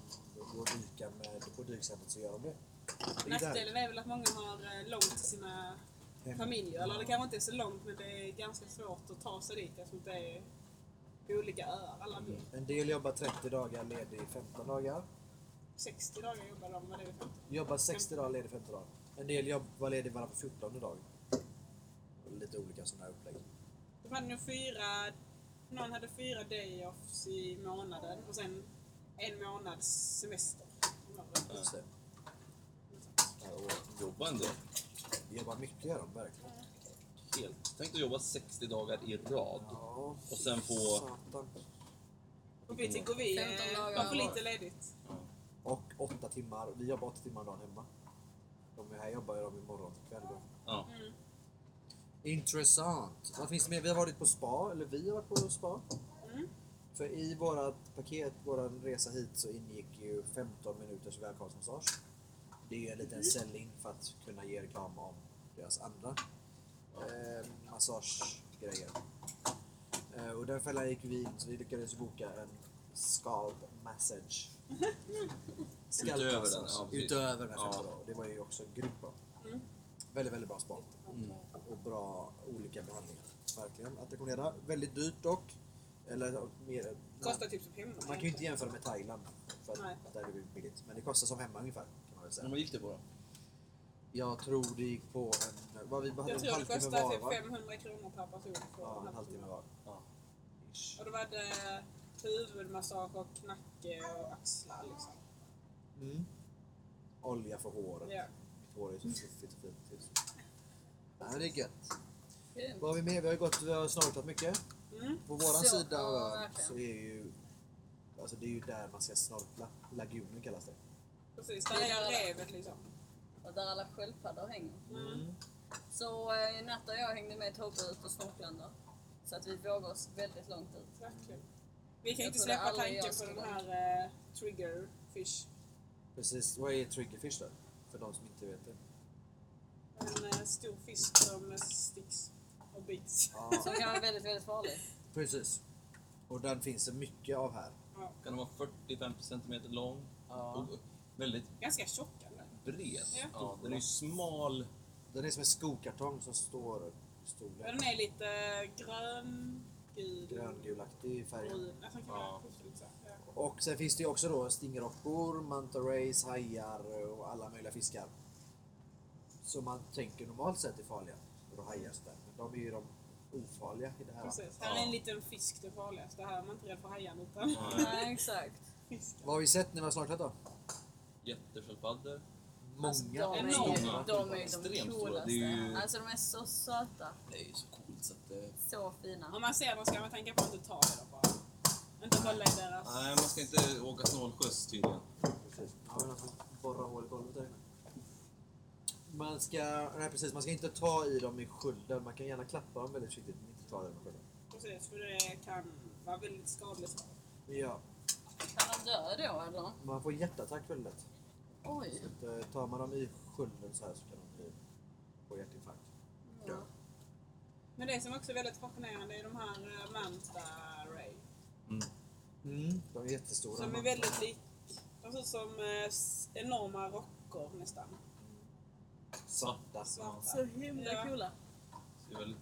Speaker 1: gå och dyka med, på dykcentret så gör de det. det. är där.
Speaker 4: Nackdelen är väl att många har eh, långt till sina
Speaker 1: Hem.
Speaker 4: familjer. Eller det kanske inte är så långt men det är ganska svårt att ta sig dit eftersom det är olika öar. Alla bor.
Speaker 1: En del jobbar 30 dagar, ledig 15 dagar.
Speaker 4: 60 dagar jobbar de vad det är det för något?
Speaker 1: Jobbar 60 dagar, ledig 15 dagar. En del jobbar ledig bara på 14 dag. Lite olika sådana här upplägg.
Speaker 4: De hade nog fyra... Någon hade fyra day-offs i månaden och sen en månads semester. om året.
Speaker 1: Just det. Ja, och
Speaker 3: Jobba en del.
Speaker 1: jobbar mycket gör de verkligen.
Speaker 3: Helt. Tänk att jobba 60 dagar i rad.
Speaker 1: Ja,
Speaker 3: Och sen få-
Speaker 1: satan.
Speaker 4: Och vi tycker vi... eh,
Speaker 2: 15 dagar.
Speaker 4: De får lite ledigt.
Speaker 1: Och åtta timmar. Vi jobbar åtta timmar om dagen hemma. De här jobbar ju de imorgon kväll då. Mm.
Speaker 3: Ja.
Speaker 1: Intressant. Vad finns det mer? Vi har varit på spa, eller vi har varit på spa.
Speaker 4: Mm.
Speaker 1: För i vårat paket, våran resa hit, så ingick ju 15 minuters välkomstmassage. Det är ju en liten sell-in för att kunna ge reklam om deras andra eh, massagegrejer. Eh, och den fällan gick vi in, så vi lyckades boka en scalp massage. Scalp
Speaker 3: Utöver
Speaker 1: massage.
Speaker 3: den, ja, precis.
Speaker 1: Utöver den här
Speaker 3: Ja.
Speaker 1: 15 dagar. Och Det var ju också grymt bra.
Speaker 4: Mm.
Speaker 1: Väldigt, väldigt bra spa och bra olika behandlingar. Verkligen att rekommendera. Väldigt dyrt dock. Eller mer...
Speaker 4: Kostar typ som hemma.
Speaker 1: Man kan ju inte jämföra med Thailand. För
Speaker 4: Nej. Mm.
Speaker 1: att där är det billigt. Men det kostar som hemma ungefär. Kan man väl
Speaker 3: Men
Speaker 1: säga.
Speaker 3: vad gick det på då?
Speaker 1: Jag tror det gick på en... Vad vi hade
Speaker 4: Jag
Speaker 1: en
Speaker 4: tror det
Speaker 1: halvtimme
Speaker 4: kostar
Speaker 1: var
Speaker 4: typ
Speaker 1: va?
Speaker 4: 500 kronor per person. för
Speaker 1: Ja, en
Speaker 4: natten.
Speaker 1: halvtimme var.
Speaker 3: Ja.
Speaker 1: Ish.
Speaker 4: Och då var det huvudmassage och nacke och axlar liksom.
Speaker 1: Mm. Olja för håret.
Speaker 4: Ja.
Speaker 1: Mitt hår är så fluffigt och fint. just. Nej, det är gött.
Speaker 2: Grymt.
Speaker 1: Vad har vi med? Vi har gått, vi har snorklat mycket.
Speaker 4: Mm.
Speaker 1: På våran
Speaker 2: Så,
Speaker 1: sida
Speaker 2: ja,
Speaker 1: av ön
Speaker 2: verkligen.
Speaker 1: så är ju... Alltså det är ju där man ska snorkla. Lagunen kallas det.
Speaker 4: Precis, där är revet liksom.
Speaker 2: Och där alla sköldpaddor hänger.
Speaker 4: Mm.
Speaker 2: Så eh, Natta och jag hängde med Tobbe ut och snorklande. Så att vi vågade oss väldigt långt ut.
Speaker 4: Verkligen. Vi kan ju
Speaker 2: Jag trodde
Speaker 4: inte släppa
Speaker 2: aldrig jag
Speaker 4: tanken på
Speaker 2: skulle-
Speaker 4: den här eh, triggerfish.
Speaker 1: Precis. Vad är triggerfish då? För de som inte vet det.
Speaker 4: En eh, stor fisk som sticks och bits.
Speaker 1: Ja,
Speaker 2: Som kan vara väldigt, väldigt farlig.
Speaker 1: precis. Och den finns det mycket av här.
Speaker 3: Kan den vara 40-50 cm lång
Speaker 1: Ja.
Speaker 3: och väldigt
Speaker 4: Ganska tjock eller?
Speaker 3: bred.
Speaker 4: Ja.
Speaker 3: Ja, den är ju smal.
Speaker 1: Den är som en skokartong som står
Speaker 4: Ja,
Speaker 1: storlek.
Speaker 4: Den är lite eh, grön, gul,
Speaker 1: Gröngulaktig i färgen.
Speaker 4: brun. Alltså, den kan
Speaker 3: Ja.
Speaker 4: vara skifta lite så här. Ja.
Speaker 1: Och sen finns det ju också då stingrockor, manta rays, hajar och alla möjliga fiskar. Som man tänker normalt sett är farliga. Och då hajar så där. Men de är ju de ofarliga i det här.
Speaker 4: Precis. Här är
Speaker 3: Ja.
Speaker 4: en liten fisk det farligaste. Här är man inte rädd för hajan utan
Speaker 2: Nej, exakt.
Speaker 4: fisken.
Speaker 1: Vad har vi sett när vi har snart då?
Speaker 3: Jättesköldpaddor.
Speaker 2: Alltså,
Speaker 1: Många.
Speaker 2: de, är,
Speaker 4: Många.
Speaker 2: ju- de är ju de
Speaker 3: Extremt stora.
Speaker 2: coolaste.
Speaker 3: Det är ju-
Speaker 2: Alltså de är så söta.
Speaker 3: Det är ju så coolt så att... eh,
Speaker 2: Så fina.
Speaker 4: Om man ser dem ska man tänka på att inte ta i dem bara. Inte hålla i deras...
Speaker 3: Nej, man ska inte åka snålskjuts tydligen.
Speaker 1: Precis. Ja, men alltså, borra hål i golvet där inne. Man ska, nej precis, man ska inte ta i dem i skölden. Man kan gärna klappa dem väldigt försiktigt, men inte ta i dem i skölden.
Speaker 4: Precis, för det kan vara väldigt skadligt.
Speaker 1: Ja,
Speaker 2: Kan de dö då eller?
Speaker 1: man får hjärtattack väldigt lätt.
Speaker 2: Oj.
Speaker 1: Så att, eh, tar man dem i skölden så här så kan de bli, få hjärtinfarkt.
Speaker 2: Ja.
Speaker 4: Men det som också är väldigt fascinerande är de här eh, Manta Ray.
Speaker 1: Mm. De är jättestora.
Speaker 4: Som är
Speaker 1: Man-
Speaker 4: väldigt lik... De ser ut som eh, s- enorma rockor nästan.
Speaker 1: Svarta.
Speaker 4: Svarta.
Speaker 2: Så himla
Speaker 4: Ja.
Speaker 2: coola.
Speaker 3: Det är väldigt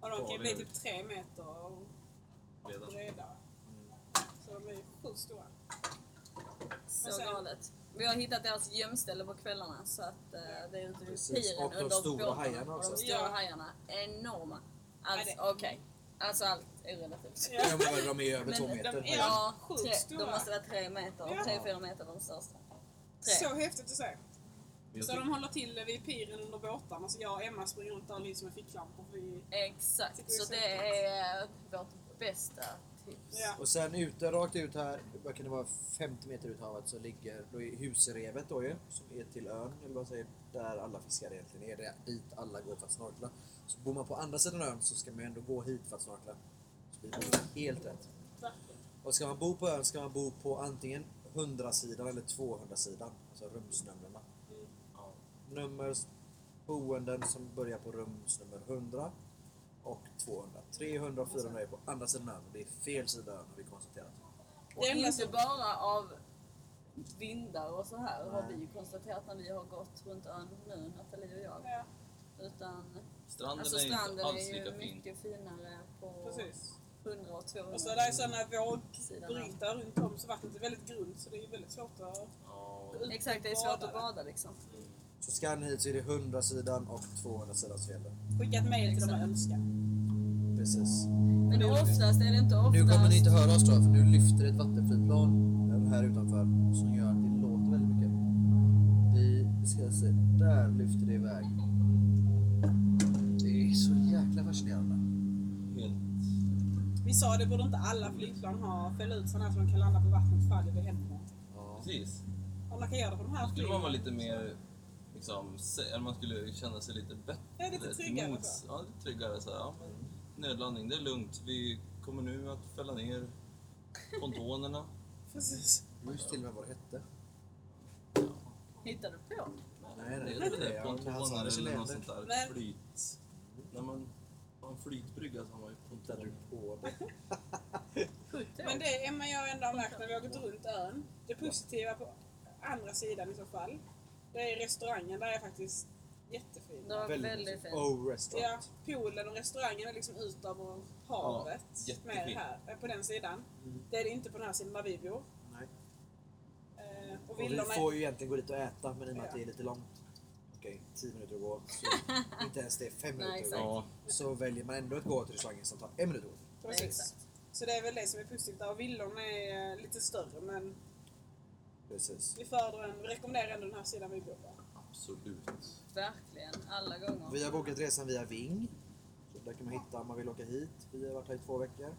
Speaker 4: Och de kan ju bli
Speaker 3: Farliga.
Speaker 4: typ tre meter
Speaker 3: breda.
Speaker 4: breda. Så de är ju sjukt stora.
Speaker 2: Så
Speaker 4: Men sen-
Speaker 2: galet. Vi har hittat deras gömställe på kvällarna så att eh, det är ute vid
Speaker 1: Precis.
Speaker 2: piren
Speaker 1: Och de
Speaker 2: under
Speaker 1: stora
Speaker 2: båtarna.
Speaker 1: hajarna också.
Speaker 2: Och de stora
Speaker 4: Ja.
Speaker 2: hajarna. Enorma. Alltså
Speaker 4: Ja,
Speaker 2: okej. Alltså allt är relativt.
Speaker 4: Ja.
Speaker 1: De är över
Speaker 2: Men
Speaker 1: två
Speaker 2: de
Speaker 1: meter.
Speaker 4: är-
Speaker 1: Ja.
Speaker 2: Ja,
Speaker 4: sjukt
Speaker 2: tre, de
Speaker 4: stora.
Speaker 2: måste vara tre meter.
Speaker 4: Ja.
Speaker 2: Tre, fyra meter var de största. Tre.
Speaker 4: Så häftigt att se.
Speaker 3: Jag
Speaker 4: Så
Speaker 3: tycker-
Speaker 4: de håller till vid piren under båtarna. Så jag och Emma springer runt där och lyser med ficklampor. för Vi... Tycker
Speaker 2: Exakt.
Speaker 4: det är
Speaker 2: Så
Speaker 4: så
Speaker 2: det är eh, vårt bästa tips.
Speaker 4: Ja.
Speaker 1: Och sen ute, rakt ut här, vad kan det vara, 50 meter ut i havet så ligger då är husrevet då ju, som är till ön, eller vad säger där alla fiskar egentligen är, det är dit alla går för att snorkla. Så bor man på andra sidan ön så ska man ju ändå gå hit för att snorkla. Så det är helt rätt. Och ska man bo på ön ska man bo på antingen 100-sidan eller 200-sidan, alltså rumsnumren.
Speaker 3: Ja.
Speaker 1: Nummer boenden som börjar på rumsnummer 100 och 200. 300 och 400 är på andra sidan ön och det är fel sida ön har vi konstaterat.
Speaker 2: Och
Speaker 4: Det enda
Speaker 2: inte
Speaker 4: som-
Speaker 2: bara av vindar och så här har
Speaker 1: Nej.
Speaker 2: vi ju konstaterat när vi har gått runt ön nu, Nathalie och jag.
Speaker 4: Ja,
Speaker 2: Utan
Speaker 3: Stranden
Speaker 2: alltså,
Speaker 3: är
Speaker 2: stranden
Speaker 3: inte
Speaker 2: är,
Speaker 3: alls
Speaker 2: ju
Speaker 3: lika fin.
Speaker 2: mycket finare på
Speaker 4: precis.
Speaker 2: 100 och 200.
Speaker 4: Och så är det sådana
Speaker 2: Sidan
Speaker 4: vågbrytare runt om så vattnet är väldigt grunt så det är ju väldigt svårt att...
Speaker 3: Ja,
Speaker 2: Exakt, det är svårt att bada liksom.
Speaker 1: Så ska ni hit så är det 100 sidan och 200 sidan som gäller.
Speaker 4: Skicka ett mejl till dem och önska.
Speaker 1: Precis.
Speaker 2: Men oftast är det inte oftast...
Speaker 1: Nu kommer ni inte höra oss tror jag för nu lyfter ett vattenflygplan här utanför som gör att det låter väldigt mycket. Vi ska se, där lyfter det iväg. Det är så jäkla fascinerande.
Speaker 3: helt...
Speaker 4: Vi sa det borde inte alla flygplan ha. Fälla ut sådana här så de kan landa på vattnet ifall det händer någonting.
Speaker 1: Ja.
Speaker 3: Precis.
Speaker 4: Om man kan göra det på de här
Speaker 3: skulle man vara
Speaker 4: flygplanen.
Speaker 3: lite mer... Liksom, se- eller man skulle känna sig lite bättre.
Speaker 4: Ja, lite
Speaker 3: till
Speaker 4: tryggare,
Speaker 2: alltså.
Speaker 3: mods. Ja, lite tryggare. Så här, ja, men, nödlandning, det är lugnt. Vi kommer nu att fälla ner pontonerna.
Speaker 4: Precis.
Speaker 1: Jag minns till och med vad det hette.
Speaker 2: Hittar du på?
Speaker 1: Nej,
Speaker 3: Det
Speaker 1: nej,
Speaker 3: är väl
Speaker 1: nej,
Speaker 3: det,
Speaker 1: ja, men han sa
Speaker 3: pontoner
Speaker 1: det så
Speaker 3: eller något
Speaker 1: länge.
Speaker 3: sånt där.
Speaker 4: Men-
Speaker 3: Flyt. När man har en flytbrygga så har man ju
Speaker 1: Där du
Speaker 3: pontoner.
Speaker 1: på det.
Speaker 2: Sjukt
Speaker 4: Men det Emma och jag ändå har märkt när vi har gått runt ön. Det positiva på andra sidan i så fall. Det är restaurangen. Där är faktiskt jättefin.
Speaker 2: Det var väldigt, fint.
Speaker 1: Oh, restaurant.
Speaker 4: Ja, poolen och restaurangen är liksom ut över havet.
Speaker 3: Ja,
Speaker 4: med
Speaker 3: jättefint.
Speaker 4: här, eh, på den sidan.
Speaker 1: Mm.
Speaker 4: Det är det inte på den här sidan där vi bor.
Speaker 1: Nej.
Speaker 4: Eh, och
Speaker 1: Och vi
Speaker 4: villorna
Speaker 1: får ju egentligen gå dit och äta men i och med att
Speaker 4: Ja.
Speaker 1: det är lite långt. Okej, 10 minuter att gå. Så inte ens det, 5
Speaker 2: Nej,
Speaker 1: minuter att
Speaker 2: exakt.
Speaker 1: gå.
Speaker 3: Ja,
Speaker 1: Så väljer man ändå att gå till restaurangen som tar en minut att gå.
Speaker 4: Precis.
Speaker 2: Exakt.
Speaker 4: Så det är väl det som är positivt där. Och villorna är eh, lite större men
Speaker 1: Precis.
Speaker 4: vi föredrar en, vi rekommenderar ändå den här sidan vi bor på.
Speaker 3: absolut.
Speaker 2: Verkligen, alla gånger.
Speaker 1: Vi har bokat resan via Ving. Så där kan man hitta om man vill åka hit. Vi har varit här i två veckor.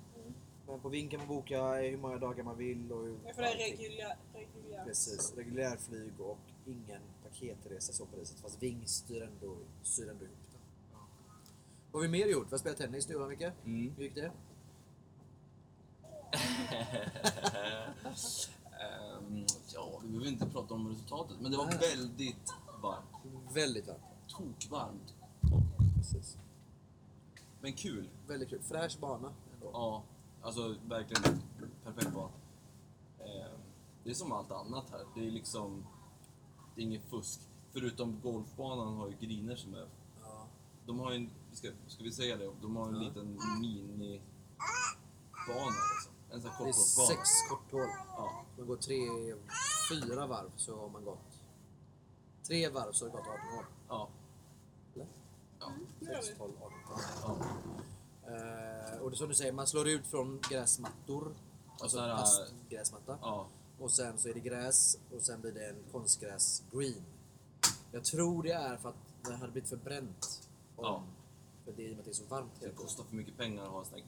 Speaker 1: Men på Ving kan man boka hur många dagar man vill och hur...
Speaker 4: Mm. Ja, för det är
Speaker 1: allting.
Speaker 4: reguljär, reguljär.
Speaker 1: Precis. Reguljärflyg och ingen paketresa så på det sättet. Fast Ving styr ändå, styr ändå ihop det. Vad har vi mer gjort? Vi har spelat tennis nu va Micke?
Speaker 3: Mm.
Speaker 1: Hur gick det?
Speaker 3: Ehm, ja, vi behöver inte prata om resultatet, men det var
Speaker 1: Nej.
Speaker 3: väldigt varmt.
Speaker 1: Väldigt varmt.
Speaker 3: Tokvarmt.
Speaker 1: Precis.
Speaker 3: Men kul.
Speaker 1: Väldigt kul. Fräsch bana. Ändå.
Speaker 3: Ja, alltså verkligen perfekt val. Ehm, Det är som allt annat här. Det är liksom... Det är inget fusk. Förutom golfbanan har ju griner som är...
Speaker 1: Ja.
Speaker 3: De har ju en... Ska, ska vi säga det? De har en
Speaker 1: Ja.
Speaker 3: liten minibana liksom. En sån här
Speaker 1: Det är
Speaker 3: kortkortbana.
Speaker 1: sex korthål.
Speaker 3: Ja,
Speaker 1: Man går tre, fyra varv så har man gått. Tre varv så har det gått 18 hål.
Speaker 3: ja,
Speaker 1: Eller?
Speaker 3: ja.
Speaker 4: Det gör vi.
Speaker 1: Sex, 12, 18 hål.
Speaker 3: ja.
Speaker 1: Eh, och det är som du säger, man slår ut från gräsmattor. Alltså
Speaker 3: så här, eh,
Speaker 1: plastgräsmatta.
Speaker 3: ja.
Speaker 1: Och sen så är det gräs och sen blir det en konstgräs-green. Jag tror det är för att det hade blivit för bränt. om-
Speaker 3: Ja.
Speaker 1: För det är i och med att det är så varmt
Speaker 3: Det
Speaker 1: hela tiden.
Speaker 3: kostar för mycket pengar att ha en sån här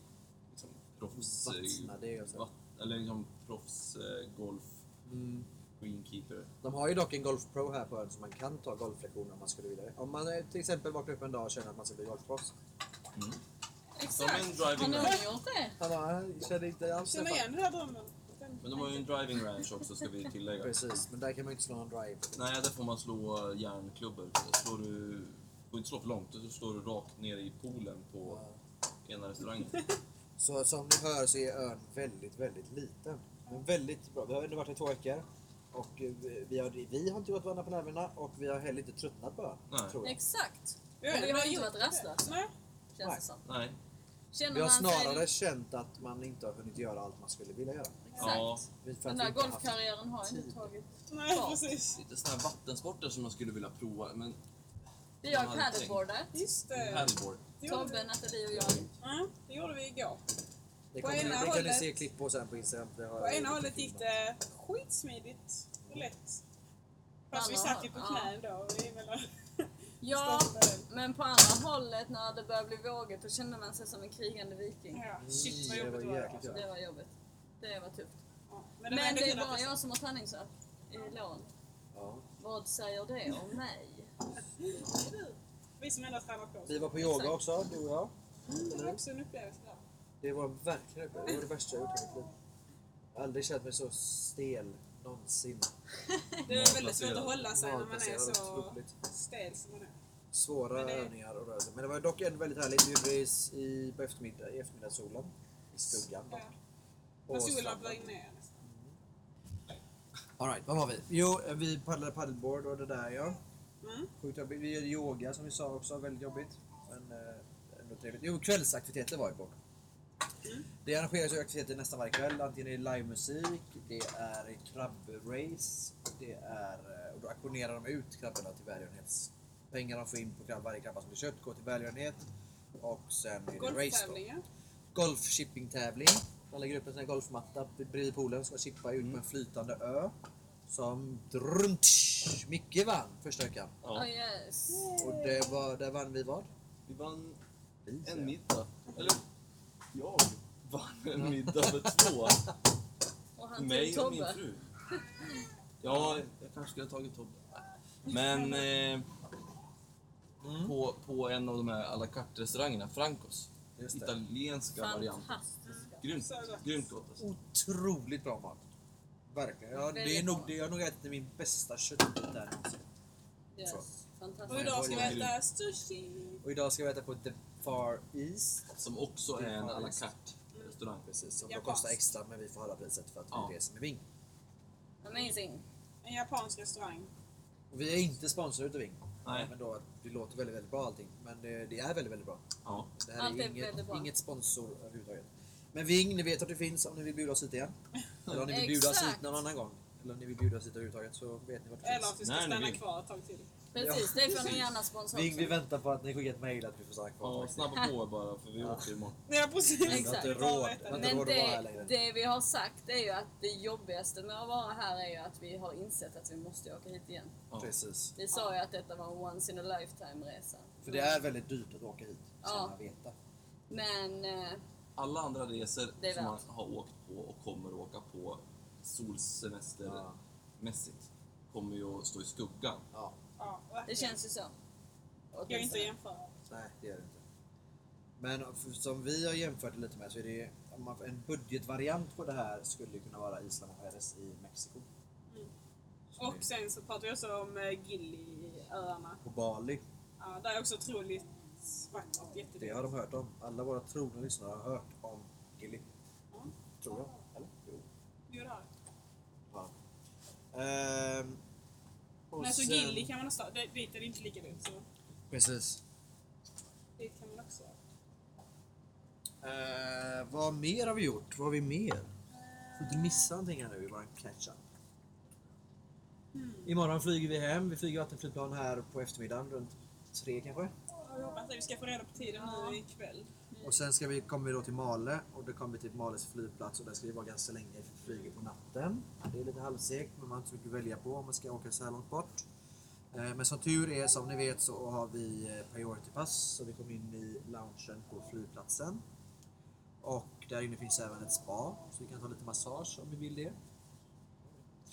Speaker 3: liksom, proffs... eh,
Speaker 1: Vattna det alltså- och så.
Speaker 3: vatt, eller liksom proffs eh, golf
Speaker 1: Mm.
Speaker 3: greenkeeper.
Speaker 1: De har ju dock en golfpro här på ön så man kan ta golflektioner om man skulle vilja det. Om man eh, till exempel vaknar upp en dag och känner att man ska bli golfproffs.
Speaker 3: De har ju en
Speaker 2: Har
Speaker 3: driving range.
Speaker 2: någon gjort det?
Speaker 1: Han bara, "Jag känner inte alls
Speaker 4: Känner
Speaker 1: det."
Speaker 4: igen den här drömmen.
Speaker 3: Men de har ju en driving range också ska vi tillägga.
Speaker 1: Precis, men där kan man ju inte slå någon drive.
Speaker 3: Nej, där får man slå järnklubbor. Slår du... får inte slå för långt, så slår du rakt ner i poolen på ena restaurangen.
Speaker 1: Så som ni hör så är ön väldigt, väldigt liten. Men väldigt bra. Vi har ändå varit här i två veckor. Och eh, vi har, vi har inte gått varandra på nerverna och vi har heller inte tröttnat på ön.
Speaker 3: Nej.
Speaker 1: Tror jag.
Speaker 2: Exakt. Men vi har ju varit rastlösa,
Speaker 4: Nej.
Speaker 2: känns det som.
Speaker 3: Nej.
Speaker 2: Känner
Speaker 1: Vi har
Speaker 2: man sig-
Speaker 1: snarare känt att man inte har hunnit göra allt man skulle vilja göra.
Speaker 3: Ja.
Speaker 2: Exakt.
Speaker 1: Vi- för
Speaker 2: Den
Speaker 1: att vi
Speaker 2: där
Speaker 1: inte har haft-
Speaker 2: golfkarriären har inte
Speaker 1: tid.
Speaker 2: tagit...
Speaker 4: Nej,
Speaker 2: Ja.
Speaker 4: precis.
Speaker 3: Lite såna här vattensporter som jag skulle vilja prova, men...
Speaker 2: Vi har
Speaker 3: Man hade tänkt.
Speaker 2: paddleboardat.
Speaker 4: Just det.
Speaker 3: Paddleboard.
Speaker 4: Det gjorde
Speaker 2: Tobbe,
Speaker 4: vi,
Speaker 2: Nathalie och jag.
Speaker 4: ja, det gjorde vi igår.
Speaker 1: Det,
Speaker 4: På
Speaker 1: kommer,
Speaker 4: ena
Speaker 1: det kan ni
Speaker 4: hållet-
Speaker 1: se klipp på sen på Instagram. Det har
Speaker 4: På
Speaker 1: jag
Speaker 4: ena
Speaker 1: gjort
Speaker 4: hållet
Speaker 1: klipp
Speaker 4: gick
Speaker 1: på.
Speaker 4: det skitsmidigt och lätt. Fast vi
Speaker 2: Andra
Speaker 4: satt ju på
Speaker 2: håll,
Speaker 4: knä ändå. och vi mellan-
Speaker 2: Ja,
Speaker 4: Stoppade.
Speaker 2: men på andra hållet när det började bli vågigt då kände man sig som en krigande viking.
Speaker 4: Ja,
Speaker 1: Mm,
Speaker 4: Shit vad
Speaker 1: det
Speaker 4: jobbigt det
Speaker 1: var
Speaker 4: var.
Speaker 1: jäkligt
Speaker 4: alltså.
Speaker 2: Det var jobbigt. Det var tufft.
Speaker 4: Ja, Men
Speaker 2: Men
Speaker 4: den enda
Speaker 2: det är
Speaker 4: killen
Speaker 2: bara
Speaker 4: precis-
Speaker 2: jag som har träningsvärk i lån.
Speaker 1: Ja.
Speaker 2: Vad säger det om mig?
Speaker 4: Vi som ändå har tränat på oss.
Speaker 1: Vi var på yoga
Speaker 2: Exakt.
Speaker 1: också, du och jag.
Speaker 4: Det var också en upplevelse där.
Speaker 1: Det var verkligen det var det värsta jag gjort i hela mitt liv. Jag har aldrig känt mig så stel någonsin.
Speaker 4: Det är väldigt svårt att
Speaker 3: Malplacerad.
Speaker 4: hålla sig när man är
Speaker 1: Malplacerad,
Speaker 4: så
Speaker 1: otroligt.
Speaker 4: stel som man är.
Speaker 1: Svåra
Speaker 4: Men det-
Speaker 1: övningar och rörelser. Men det var dock ändå väldigt härligt. Vi gjorde det i- i, på eftermiddag, i eftermiddagssolen. I skuggan.
Speaker 4: Ja.
Speaker 1: dock.
Speaker 4: När
Speaker 1: Och
Speaker 4: solen var
Speaker 1: stranden.
Speaker 4: på väg ner nästan.
Speaker 1: All right, vad var vi? Jo, eh, vi paddlade paddleboard och det där ja.
Speaker 4: Mm.
Speaker 1: Sjukt jobbigt. Vi gjorde yoga som vi sa också, väldigt jobbigt. Men eh, ändå trevligt. Jo, kvällsaktiviteter var ju på. Det arrangeras ju aktiviteter nästan varje kväll. Antingen är det livemusik, det är krabbrace, det är... eh, Och då auktionerar de ut krabborna till välgörenhets... Pengar de får in på krabb, varje krabba som blir köpt går till välgörenhet. Och sen är det race då.
Speaker 4: Golftävlingar.
Speaker 1: Golfshippingtävling. Man lägger upp en sån här golfmatta bredvid poolen och ska chippa ut
Speaker 3: Mm.
Speaker 1: på en flytande ö. Som drunt, Micke vann första veckan.
Speaker 2: Ja,
Speaker 3: Ja.
Speaker 2: yes.
Speaker 1: Och det var, där vann vi vad?
Speaker 3: Vi vann
Speaker 1: Vi, säger
Speaker 3: en
Speaker 1: jag.
Speaker 3: middag. Eller, jag vann en middag för två.
Speaker 2: Och han tog
Speaker 3: Mig och min
Speaker 2: Tobbe.
Speaker 3: fru. Ja, jag kanske skulle ha tagit Tobbe. Men eh,
Speaker 1: Mm.
Speaker 3: på, på en av de här à la carte-restaurangerna, Francos.
Speaker 1: Just det.
Speaker 3: Italienska varianten.
Speaker 2: Fantastiska.
Speaker 3: Grymt,
Speaker 4: Så gott.
Speaker 3: grymt gott alltså.
Speaker 1: Otroligt bra mat. Verkligen. Ja, det, är
Speaker 2: Väldigt
Speaker 1: nog,
Speaker 2: bra.
Speaker 1: det är nog ett av min bästa köttbit där.
Speaker 2: Yes.
Speaker 4: Och
Speaker 2: Fantastiskt.
Speaker 4: idag ska vi
Speaker 3: Oj, oj, oj.
Speaker 4: äta sushi.
Speaker 1: Och idag ska vi äta på The Far East.
Speaker 3: Som också är en à la carte-restaurang.
Speaker 1: Precis, som då
Speaker 4: Japansk.
Speaker 1: kostar extra men vi får höra priset för att
Speaker 3: Ja.
Speaker 1: vi reser med Ving.
Speaker 2: Amazing.
Speaker 4: En japansk restaurang.
Speaker 1: Och vi är inte sponsrade utav Ving.
Speaker 3: Nej.
Speaker 1: Men då, det låter väldigt, väldigt bra allting. Men det, det är väldigt, väldigt bra.
Speaker 3: Ja.
Speaker 1: Det här
Speaker 2: Allt
Speaker 1: är
Speaker 2: är väldigt
Speaker 1: inget,
Speaker 2: bra.
Speaker 1: inget sponsor överhuvudtaget. Men Ving, ni vet att det finns om ni vill bjuda oss hit igen. Eller om ni vill bjuda oss hit
Speaker 2: Exakt.
Speaker 1: någon annan gång. Eller om ni vill bjuda oss hit överhuvudtaget så vet ni vart det
Speaker 4: Eller att
Speaker 1: finns.
Speaker 4: vi ska
Speaker 3: Nej, ni
Speaker 4: stanna
Speaker 3: vill.
Speaker 4: kvar ett tag till.
Speaker 2: Precis, det får ni gärna sponsra
Speaker 1: Ving, vi
Speaker 2: också.
Speaker 1: väntar på att ni skickar ett mail att vi får stanna kvar.
Speaker 3: ja,
Speaker 1: faktiskt.
Speaker 3: snabba på er bara för vi åker imorgon.
Speaker 4: Ja precis.
Speaker 1: Vi har
Speaker 2: Exakt.
Speaker 1: inte råd. Vi har inte
Speaker 2: Men
Speaker 1: råd att vara här
Speaker 2: det,
Speaker 1: längre.
Speaker 2: det vi har sagt är ju att det jobbigaste med att vara här är ju att vi har insett att vi måste åka hit igen.
Speaker 3: Ja.
Speaker 1: Precis.
Speaker 2: Vi sa ju att detta var en once in a lifetime resa.
Speaker 1: För det är väldigt dyrt att åka hit. Ska
Speaker 2: Ja.
Speaker 1: man veta.
Speaker 2: Men eh,
Speaker 3: Alla andra resor
Speaker 2: Det är
Speaker 3: som man
Speaker 2: värt.
Speaker 3: har åkt på och kommer att åka på
Speaker 1: Ja.
Speaker 3: solsemestermässigt kommer ju att stå i skuggan.
Speaker 1: Ja.
Speaker 4: Ja,
Speaker 2: det känns ju så.
Speaker 4: Jag är inte
Speaker 2: Åtminstone.
Speaker 4: jämföra.
Speaker 1: Nej, det gör det inte. Men för- som vi har jämfört det lite med så är det om man- en budgetvariant på det här skulle ju kunna vara Isla Mujeres i Mexiko.
Speaker 4: Mm.
Speaker 1: Som är
Speaker 4: Och sen så pratar vi också om eh, Gili-öarna.
Speaker 1: På Bali.
Speaker 4: Ja, det är också otroligt vackert,
Speaker 1: Det
Speaker 4: jättefint.
Speaker 1: har de hört om. Alla våra trogna lyssnare har hört om Gilly.
Speaker 4: Ja.
Speaker 1: Tror jag. Eller? Jo.
Speaker 4: Jo, det har det.
Speaker 1: Ja. Ehm, och
Speaker 4: Men så
Speaker 1: sen-
Speaker 4: Gilli kan man också, det- dit är det inte lika dyrt så
Speaker 1: Precis.
Speaker 4: dit kan man också.
Speaker 1: Eh, vad mer har vi gjort? Vad har vi mer? Får inte missa någonting här nu i våran catch-up. Imorgon flyger vi hem. Vi flyger vattenflygplan här på eftermiddagen runt tre kanske.
Speaker 4: Jag hoppas att vi ska få reda på tiden nu ikväll.
Speaker 1: Och sen ska vi, kommer vi då till Male och då kommer vi till Males flygplats och där ska vi vara ganska länge för vi flyger på natten. Det är lite halvsegt men man har inte så mycket att välja på om man ska åka så här långt bort. Eh, Men som tur är, som ni vet, så har vi eh, priority pass så vi kom in i loungen på flygplatsen. Och där inne finns även ett spa så vi kan ta lite massage om vi vill det.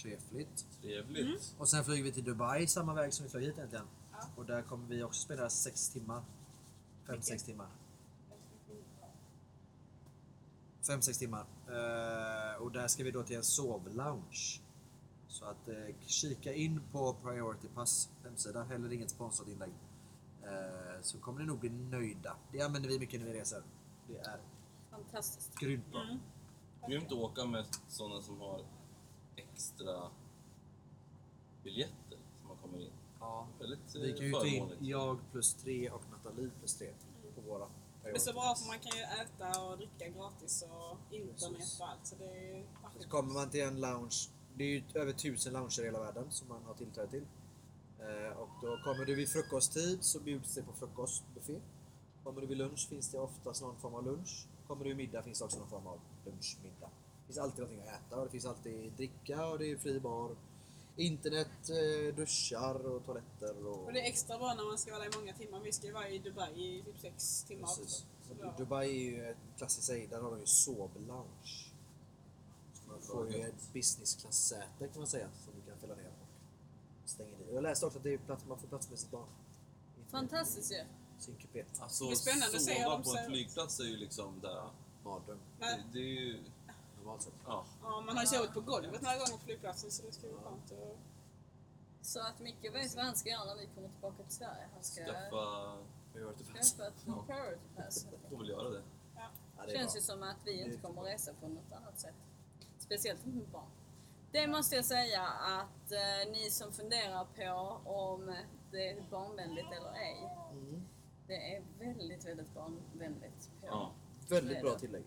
Speaker 1: Trevligt.
Speaker 3: Trevligt.
Speaker 2: Mm.
Speaker 1: Och sen flyger vi till Dubai samma väg som vi flög hit egentligen.
Speaker 4: Ja.
Speaker 1: Och där kommer vi också spendera 6 timmar. 5-6 timmar. 5-6 timmar. Eh, och där ska vi då till en sovlounge. Så att eh, kika in på Priority Pass hemsida, heller inget sponsrat inlägg. Eh, så kommer ni nog bli nöjda. Det använder vi mycket när vi reser. Det är
Speaker 2: Fantastiskt.
Speaker 1: grymt bra.
Speaker 4: Mm.
Speaker 3: Grymt att åka med sådana som har extra biljetter som man kommer in.
Speaker 1: Ja.
Speaker 3: Väldigt eh,
Speaker 1: Vi kan ju ta in
Speaker 3: förmånligt.
Speaker 1: jag plus 3 och Nathalie plus 3 på våra
Speaker 4: Det är
Speaker 1: Priority
Speaker 4: så bra
Speaker 1: Pass.
Speaker 4: för man kan ju äta och dricka gratis och internet och allt så det är
Speaker 1: Så kommer man till en lounge. Det är ju över tusen lounger i hela världen som man har tillträde till. Eh, och då kommer du vid frukosttid så bjuds det på frukostbuffé. Kommer du vid lunch finns det oftast någon form av lunch. Kommer du vid middag finns det också någon form av lunchmiddag. Det finns alltid någonting att äta och det finns alltid dricka och det är fri bar. Internet, eh, duschar och toaletter och...
Speaker 4: Och det är extra bra när man ska vara där i många timmar. Vi ska ju vara i Dubai i typ sex timmar
Speaker 1: Precis.
Speaker 4: också. Så då-
Speaker 1: Dubai är ju ett klassiskt säg, där har de ju sovlounge. Så Man får ju ett businessklass-säte kan man säga som du kan fälla ner och stänga dit. Jag läste också att det är plats, man får plats med sitt barn.
Speaker 2: Fantastiskt ju.
Speaker 1: I Sin kupé.
Speaker 3: Alltså,
Speaker 4: Det är spännande att se hur
Speaker 3: sova
Speaker 4: de
Speaker 3: på
Speaker 4: ser
Speaker 3: en
Speaker 4: ut.
Speaker 3: flygplats är ju liksom där.
Speaker 1: Mardröm
Speaker 3: Det,
Speaker 4: Men,
Speaker 3: det är ju...
Speaker 1: normalt sett.
Speaker 3: Ja.
Speaker 4: ja, man har ju sovit på golvet några gånger på flygplatsen så det ska bli skönt att...
Speaker 2: Så att Micke vet vad han ska göra när vi kommer tillbaka till Sverige. Han ska
Speaker 3: Skaffa...
Speaker 1: Vi har varit och fast.
Speaker 2: skaffa ett
Speaker 3: Ja.
Speaker 2: priority pass.
Speaker 3: Får väl göra det.
Speaker 1: Ja,
Speaker 2: Det
Speaker 1: det är
Speaker 2: känns ju
Speaker 1: bra.
Speaker 2: som att vi
Speaker 1: Det
Speaker 2: inte
Speaker 1: är
Speaker 2: kommer att resa på något annat sätt. Speciellt inte med barn. Det måste jag säga att eh, ni som funderar på om det är barnvänligt eller ej.
Speaker 1: Mm.
Speaker 2: Det är väldigt, väldigt barnvänligt. På.
Speaker 3: Ja.
Speaker 1: Väldigt
Speaker 2: Nej
Speaker 1: bra
Speaker 2: då.
Speaker 1: tillägg.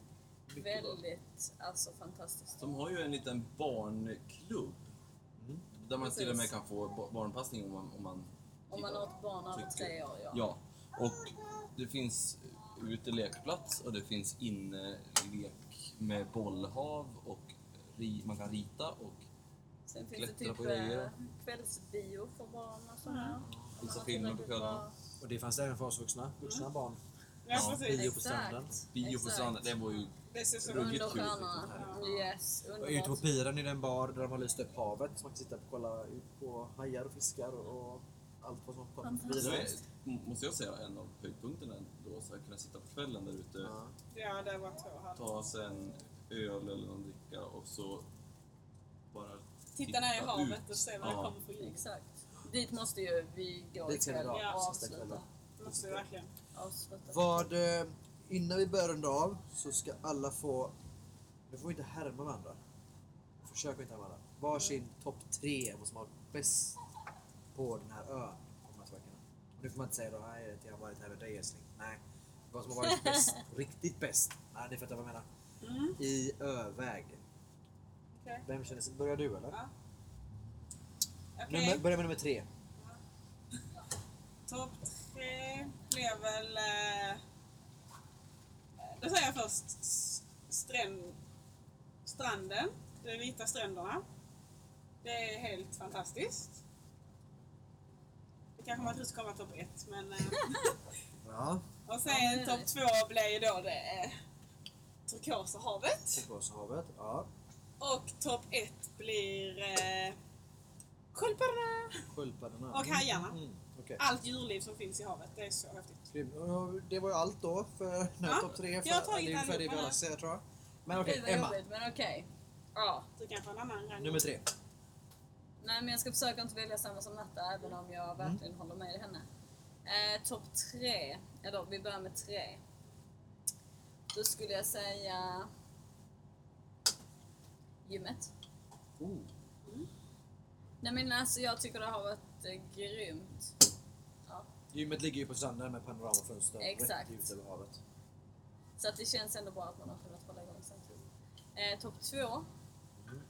Speaker 1: Mycket bra.
Speaker 2: Väldigt, alltså fantastiskt.
Speaker 3: De har ju en liten barnklubb.
Speaker 1: Mm.
Speaker 3: Där man till och med
Speaker 2: Precis.
Speaker 3: kan få ba- barnpassning om man... Om man,
Speaker 2: Om man har ett barn över
Speaker 3: Tycker-
Speaker 2: tre år, ja.
Speaker 3: Ja. Och det finns utelekplats och det finns innelek med bollhav och ri, man kan rita och
Speaker 2: Sen finns det
Speaker 3: Klättra
Speaker 2: typ
Speaker 3: på grejer.
Speaker 2: eh, kvällsbio för barn och sådär. Mm.
Speaker 3: vissa filmer på kvällarna.
Speaker 1: Och det fanns det även för oss vuxna. Mm.
Speaker 2: Mm.
Speaker 1: Vuxna barn.
Speaker 4: Ja,
Speaker 3: Ja.
Speaker 4: precis.
Speaker 1: Bio på stranden.
Speaker 3: Bio på stranden, det var ju
Speaker 4: Det ser så
Speaker 3: Ruggigt
Speaker 2: Under
Speaker 3: kul,
Speaker 2: stjärnorna. Yes,
Speaker 1: Och ute på
Speaker 2: underbart.
Speaker 1: piren är det en bar där de har lyst upp havet. Så man kan sitta och kolla ut på hajar och fiskar och allt vad som kommer förbi.
Speaker 3: Det är,
Speaker 1: där.
Speaker 3: måste jag säga, en av höjdpunkterna då, så att kunna sitta på kvällen där ute,
Speaker 1: Ja.
Speaker 4: Ja, det var två här.
Speaker 3: ta sig en öl eller någon dricka och så bara
Speaker 4: Titta ner i
Speaker 3: titta
Speaker 4: havet
Speaker 3: ut.
Speaker 4: och se vad det
Speaker 3: Ja.
Speaker 4: kommer för ljus.
Speaker 2: Exakt. Dit måste ju vi gå
Speaker 1: Dit ska vi
Speaker 2: ikväll
Speaker 1: dra.
Speaker 2: och
Speaker 4: Ja.
Speaker 1: Sista
Speaker 2: avsluta.
Speaker 1: kvällen.
Speaker 4: Måste vi verkligen.
Speaker 2: avsluta.
Speaker 1: Vad, eh, innan vi börjar runda av så ska alla få... Nu får vi inte härma varandra. Försök att inte härma varandra. Varsin topp tre vad som har varit bäst på den här ön. de här sakerna. Och Nu får man inte säga då, nej, att jag har varit här med dig älskling. Nej. Vad som har varit bäst. Riktigt bäst. Nej, ni fattar vad jag menar.
Speaker 4: Mm.
Speaker 1: I öväg.
Speaker 4: Okej.
Speaker 1: Vem känner sig... Börjar du eller?
Speaker 4: Ja. Okej,
Speaker 1: Nummer, börja med nummer tre.
Speaker 4: topp tre blev väl... Eh, då säger jag först s- stränd, stranden, de vita stränderna. Det är helt fantastiskt. Det kanske man inte ska komma topp ett, men... Eh,
Speaker 1: Ja.
Speaker 4: och
Speaker 2: Ja, men
Speaker 4: sen
Speaker 2: det-
Speaker 4: topp två blev ju då det eh, turkosa havet.
Speaker 1: Turkoshavet. Ja.
Speaker 4: Och topp ett blir eh, sköldpaddorna
Speaker 1: Sköldpaddorna.
Speaker 4: och hajarna.
Speaker 1: Mm. Okej.
Speaker 4: Allt djurliv som finns i havet, det är så häftigt.
Speaker 1: Grym. Och Det var ju allt då för den här
Speaker 4: Ja,
Speaker 1: topp tre. För,
Speaker 4: jag har tagit
Speaker 1: det är ungefär det vi
Speaker 4: allihopa
Speaker 1: alla
Speaker 4: nu.
Speaker 1: ser tror jag. Men okej,
Speaker 2: Gud vad
Speaker 1: Emma.
Speaker 2: jobbigt, men okej.
Speaker 4: Ja. Du kan få en annan rang.
Speaker 1: Nummer tre.
Speaker 2: Nej men jag ska försöka inte välja samma som Natta även om
Speaker 1: Mm.
Speaker 2: jag verkligen håller med henne. Eh, Topp tre, eller vi börjar med tre. Då skulle jag säga gymmet.
Speaker 1: Oh.
Speaker 2: Nej men alltså jag tycker det har varit eh, grymt. Ja.
Speaker 1: Gymmet ligger ju på stranden med panoramafönster.
Speaker 2: Exakt.
Speaker 1: Rätt ut över havet.
Speaker 2: Så att det känns ändå bra att man har kunnat hålla igång samtidigt. Eh, Topp två.
Speaker 1: Mm.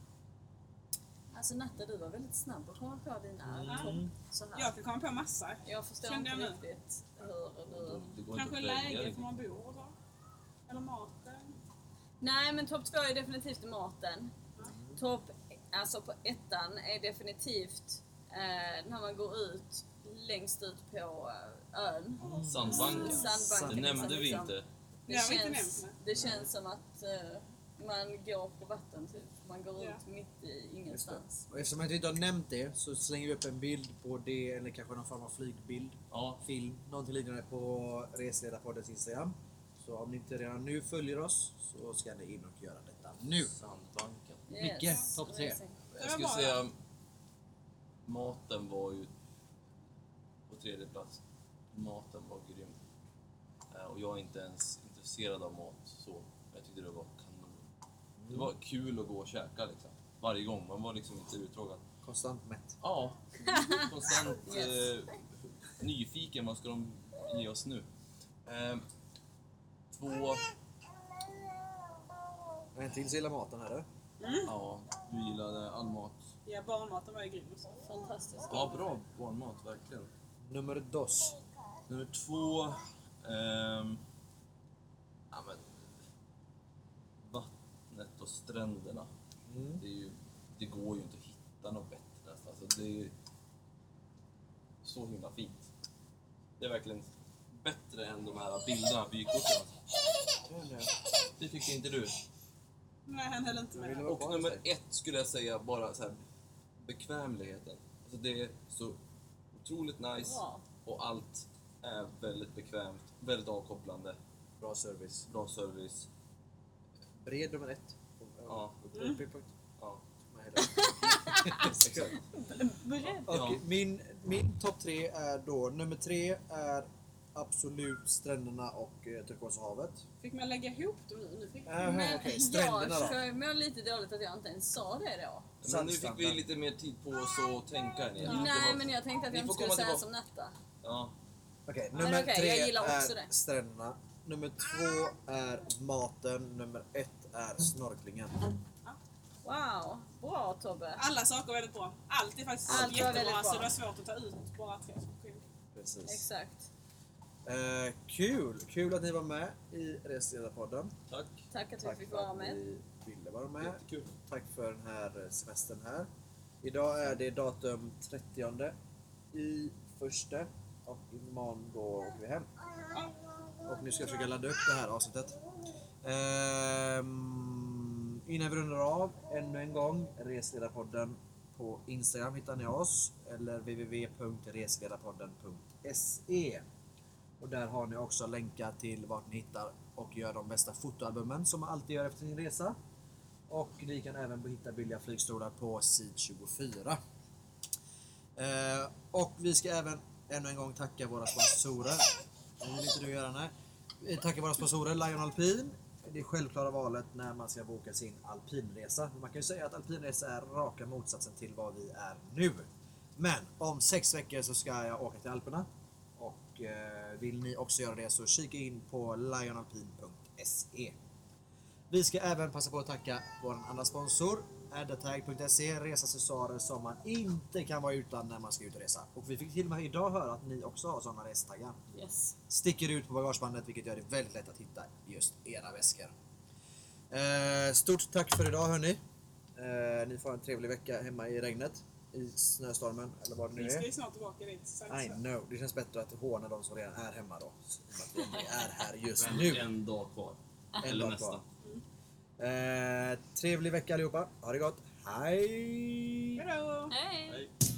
Speaker 2: Alltså Natta du var väldigt snabb att komma på dina
Speaker 4: Mm.
Speaker 2: topp så här.
Speaker 4: Jag kan komma på massa.
Speaker 2: Jag förstår
Speaker 4: Kände
Speaker 2: inte
Speaker 4: jag nu.
Speaker 2: riktigt hur du...
Speaker 1: Mm.
Speaker 3: Det går
Speaker 4: Kanske
Speaker 3: inte att välja
Speaker 4: läget,
Speaker 1: liksom.
Speaker 4: var
Speaker 3: riktigt.
Speaker 4: man bor och så. Eller maten.
Speaker 2: Nej, men topp två är definitivt maten.
Speaker 1: Mm.
Speaker 2: Topp, alltså på ettan är definitivt eh, när man går ut längst ut på eh, ön.
Speaker 3: Sandbanken.
Speaker 2: Sandbanken,
Speaker 3: Det
Speaker 2: liksom,
Speaker 3: nämnde vi
Speaker 2: liksom.
Speaker 3: inte.
Speaker 2: Det
Speaker 4: Jag har inte
Speaker 2: känns,
Speaker 4: nämnt
Speaker 2: det känns som att eh, man går på vatten typ. Man går
Speaker 4: Ja.
Speaker 2: ut mitt i
Speaker 1: Just det.
Speaker 2: ingenstans.
Speaker 1: Och eftersom jag inte har nämnt det så slänger vi upp en bild på det eller kanske någon form av flygbild.
Speaker 3: Ja,
Speaker 1: film, någonting liknande på Resledarpoddens Instagram. Så om ni inte redan nu följer oss så ska ni in och göra detta nu.
Speaker 3: Sandbanken.
Speaker 1: Micke, topp tre.
Speaker 2: amazing.
Speaker 4: var
Speaker 3: Jag skulle
Speaker 4: bara-
Speaker 3: säga maten var ju på tredje plats. Maten var grym. Eh, Och jag är inte ens intresserad av mat så. men Jag tyckte det var kanon. Det var kul att gå och käka liksom. Varje gång. Man var liksom inte uttråkad.
Speaker 1: Konstant mätt.
Speaker 3: Ja, konstant
Speaker 2: Yes.
Speaker 3: eh, nyfiken. Vad ska de ge oss nu? Eh, två...
Speaker 1: Har En till så gillar maten här du.
Speaker 3: Ja, du gillade all mat.
Speaker 4: Ja, barnmaten var ju grym också.
Speaker 2: Fantastiskt.
Speaker 3: Ja, bra barnmat verkligen.
Speaker 1: Nummer dos.
Speaker 3: Nummer två... ehm, ja, men, vattnet och stränderna.
Speaker 1: Mm.
Speaker 3: Det, är ju, det går ju inte att hitta något bättre nästan. Alltså, det är ju så himla fint. Det är verkligen bättre än de här bilderna på vykorten.
Speaker 1: eh,
Speaker 3: Det tycker inte du?
Speaker 4: Nej, han höll inte med.
Speaker 1: Vill du
Speaker 4: där.
Speaker 1: vara
Speaker 3: Och
Speaker 1: kvar,
Speaker 3: nummer
Speaker 1: säg?
Speaker 3: ett skulle jag säga bara så här, bekvämligheten. Alltså det är så otroligt nice
Speaker 2: Bra.
Speaker 3: och allt är väldigt bekvämt, väldigt avkopplande,
Speaker 1: Bra service.
Speaker 3: bra service.
Speaker 1: Bred nummer ett. Och- och-
Speaker 3: Ja.
Speaker 1: och-
Speaker 2: Mm.
Speaker 1: och- och- och-
Speaker 3: Ja,
Speaker 1: Nej, det-
Speaker 3: exakt.
Speaker 4: Beredd.
Speaker 1: Okej,
Speaker 3: Ja.
Speaker 1: Min, min topp tre är då, nummer tre är absolut stränderna och eh, turkosa havet.
Speaker 4: Fick man lägga ihop dem nu? Nu fick
Speaker 1: Äh,
Speaker 2: Men
Speaker 1: okej,
Speaker 2: jag
Speaker 1: stränderna då.
Speaker 2: mår lite dåligt att jag inte ens sa det då.
Speaker 3: Men nu fick vi
Speaker 1: Sandstranden.
Speaker 3: lite mer tid på oss att tänka. Ni,
Speaker 2: Nej, men jag tänkte att
Speaker 3: Ni
Speaker 2: jag inte
Speaker 3: får
Speaker 2: skulle
Speaker 3: komma
Speaker 2: säga
Speaker 3: tillbaka.
Speaker 2: som Natta.
Speaker 3: Ja,
Speaker 1: Okej,
Speaker 2: Men
Speaker 1: nummer
Speaker 2: okej,
Speaker 1: tre
Speaker 2: jag gillar också
Speaker 1: är
Speaker 2: det. Ah.
Speaker 1: stränderna. Nummer två är maten. Nummer ett är snorklingen.
Speaker 2: Wow, bra Tobbe.
Speaker 1: Ah.
Speaker 4: Alla saker var väldigt bra. Allt är faktiskt
Speaker 2: Allt var väldigt
Speaker 4: jättebra,
Speaker 2: bra.
Speaker 4: så det var svårt att ta ut bara tre saker.
Speaker 1: Precis.
Speaker 2: Exakt.
Speaker 1: Eh, kul! Kul att ni var med i Resledarpodden.
Speaker 3: tack.
Speaker 2: Tack att vi
Speaker 1: Tack
Speaker 2: fick
Speaker 1: för
Speaker 2: vara
Speaker 1: att
Speaker 2: med.
Speaker 1: ni ville vara med.
Speaker 3: Jättekul.
Speaker 1: Tack för den här eh, semestern här. Idag är det datum 30 i första och imorgon då åker vi hem. Och nu ska jag försöka ladda upp det här avsnittet. Ehm, innan vi rundar av, ännu en gång, Resledarpodden på Instagram hittar ni oss eller www.resledarpodden.se och där har ni också länkar till vart ni hittar och gör de bästa fotoalbumen som man alltid gör efter sin resa. Och ni kan även hitta billiga flygstolar på sid 24. Eh, och vi ska även ännu en gång tacka våra sponsorer. Det vill inte du göra nej. Vi tackar våra sponsorer Lion Alpin. Det självklara valet när man ska boka sin alpinresa. Man kan ju säga att alpinresa är raka motsatsen till vad vi är nu. Men om sex veckor så ska jag åka till Alperna. Och eh, vill ni också göra det så kika in på lionalpin.se. Vi ska även passa på att tacka vår andra sponsor addertag.se, resaccessoarer som man inte kan vara utan när man ska ut och resa. Och vi fick till och med idag höra att ni också har sådana restaggar.
Speaker 2: Yes.
Speaker 1: Sticker ut på bagagebandet vilket gör det väldigt lätt att hitta just era väskor. Eh, stort tack för idag hörni. Eh, ni får ha en trevlig vecka hemma i regnet, i snöstormen eller vad det nu
Speaker 4: Vi ska ju
Speaker 1: är.
Speaker 4: snart tillbaka dit. Så
Speaker 1: I
Speaker 4: så.
Speaker 1: know. Det känns bättre att håna de som redan är hemma då. i och med Att vi är här just
Speaker 3: Men
Speaker 1: nu.
Speaker 3: en dag kvar.
Speaker 1: En
Speaker 3: Eller
Speaker 1: dag
Speaker 3: nästan.
Speaker 1: kvar. Eh, trevlig vecka allihopa. Ha det gott. Hej!
Speaker 4: Hejdå!
Speaker 2: Hej!
Speaker 3: Hej.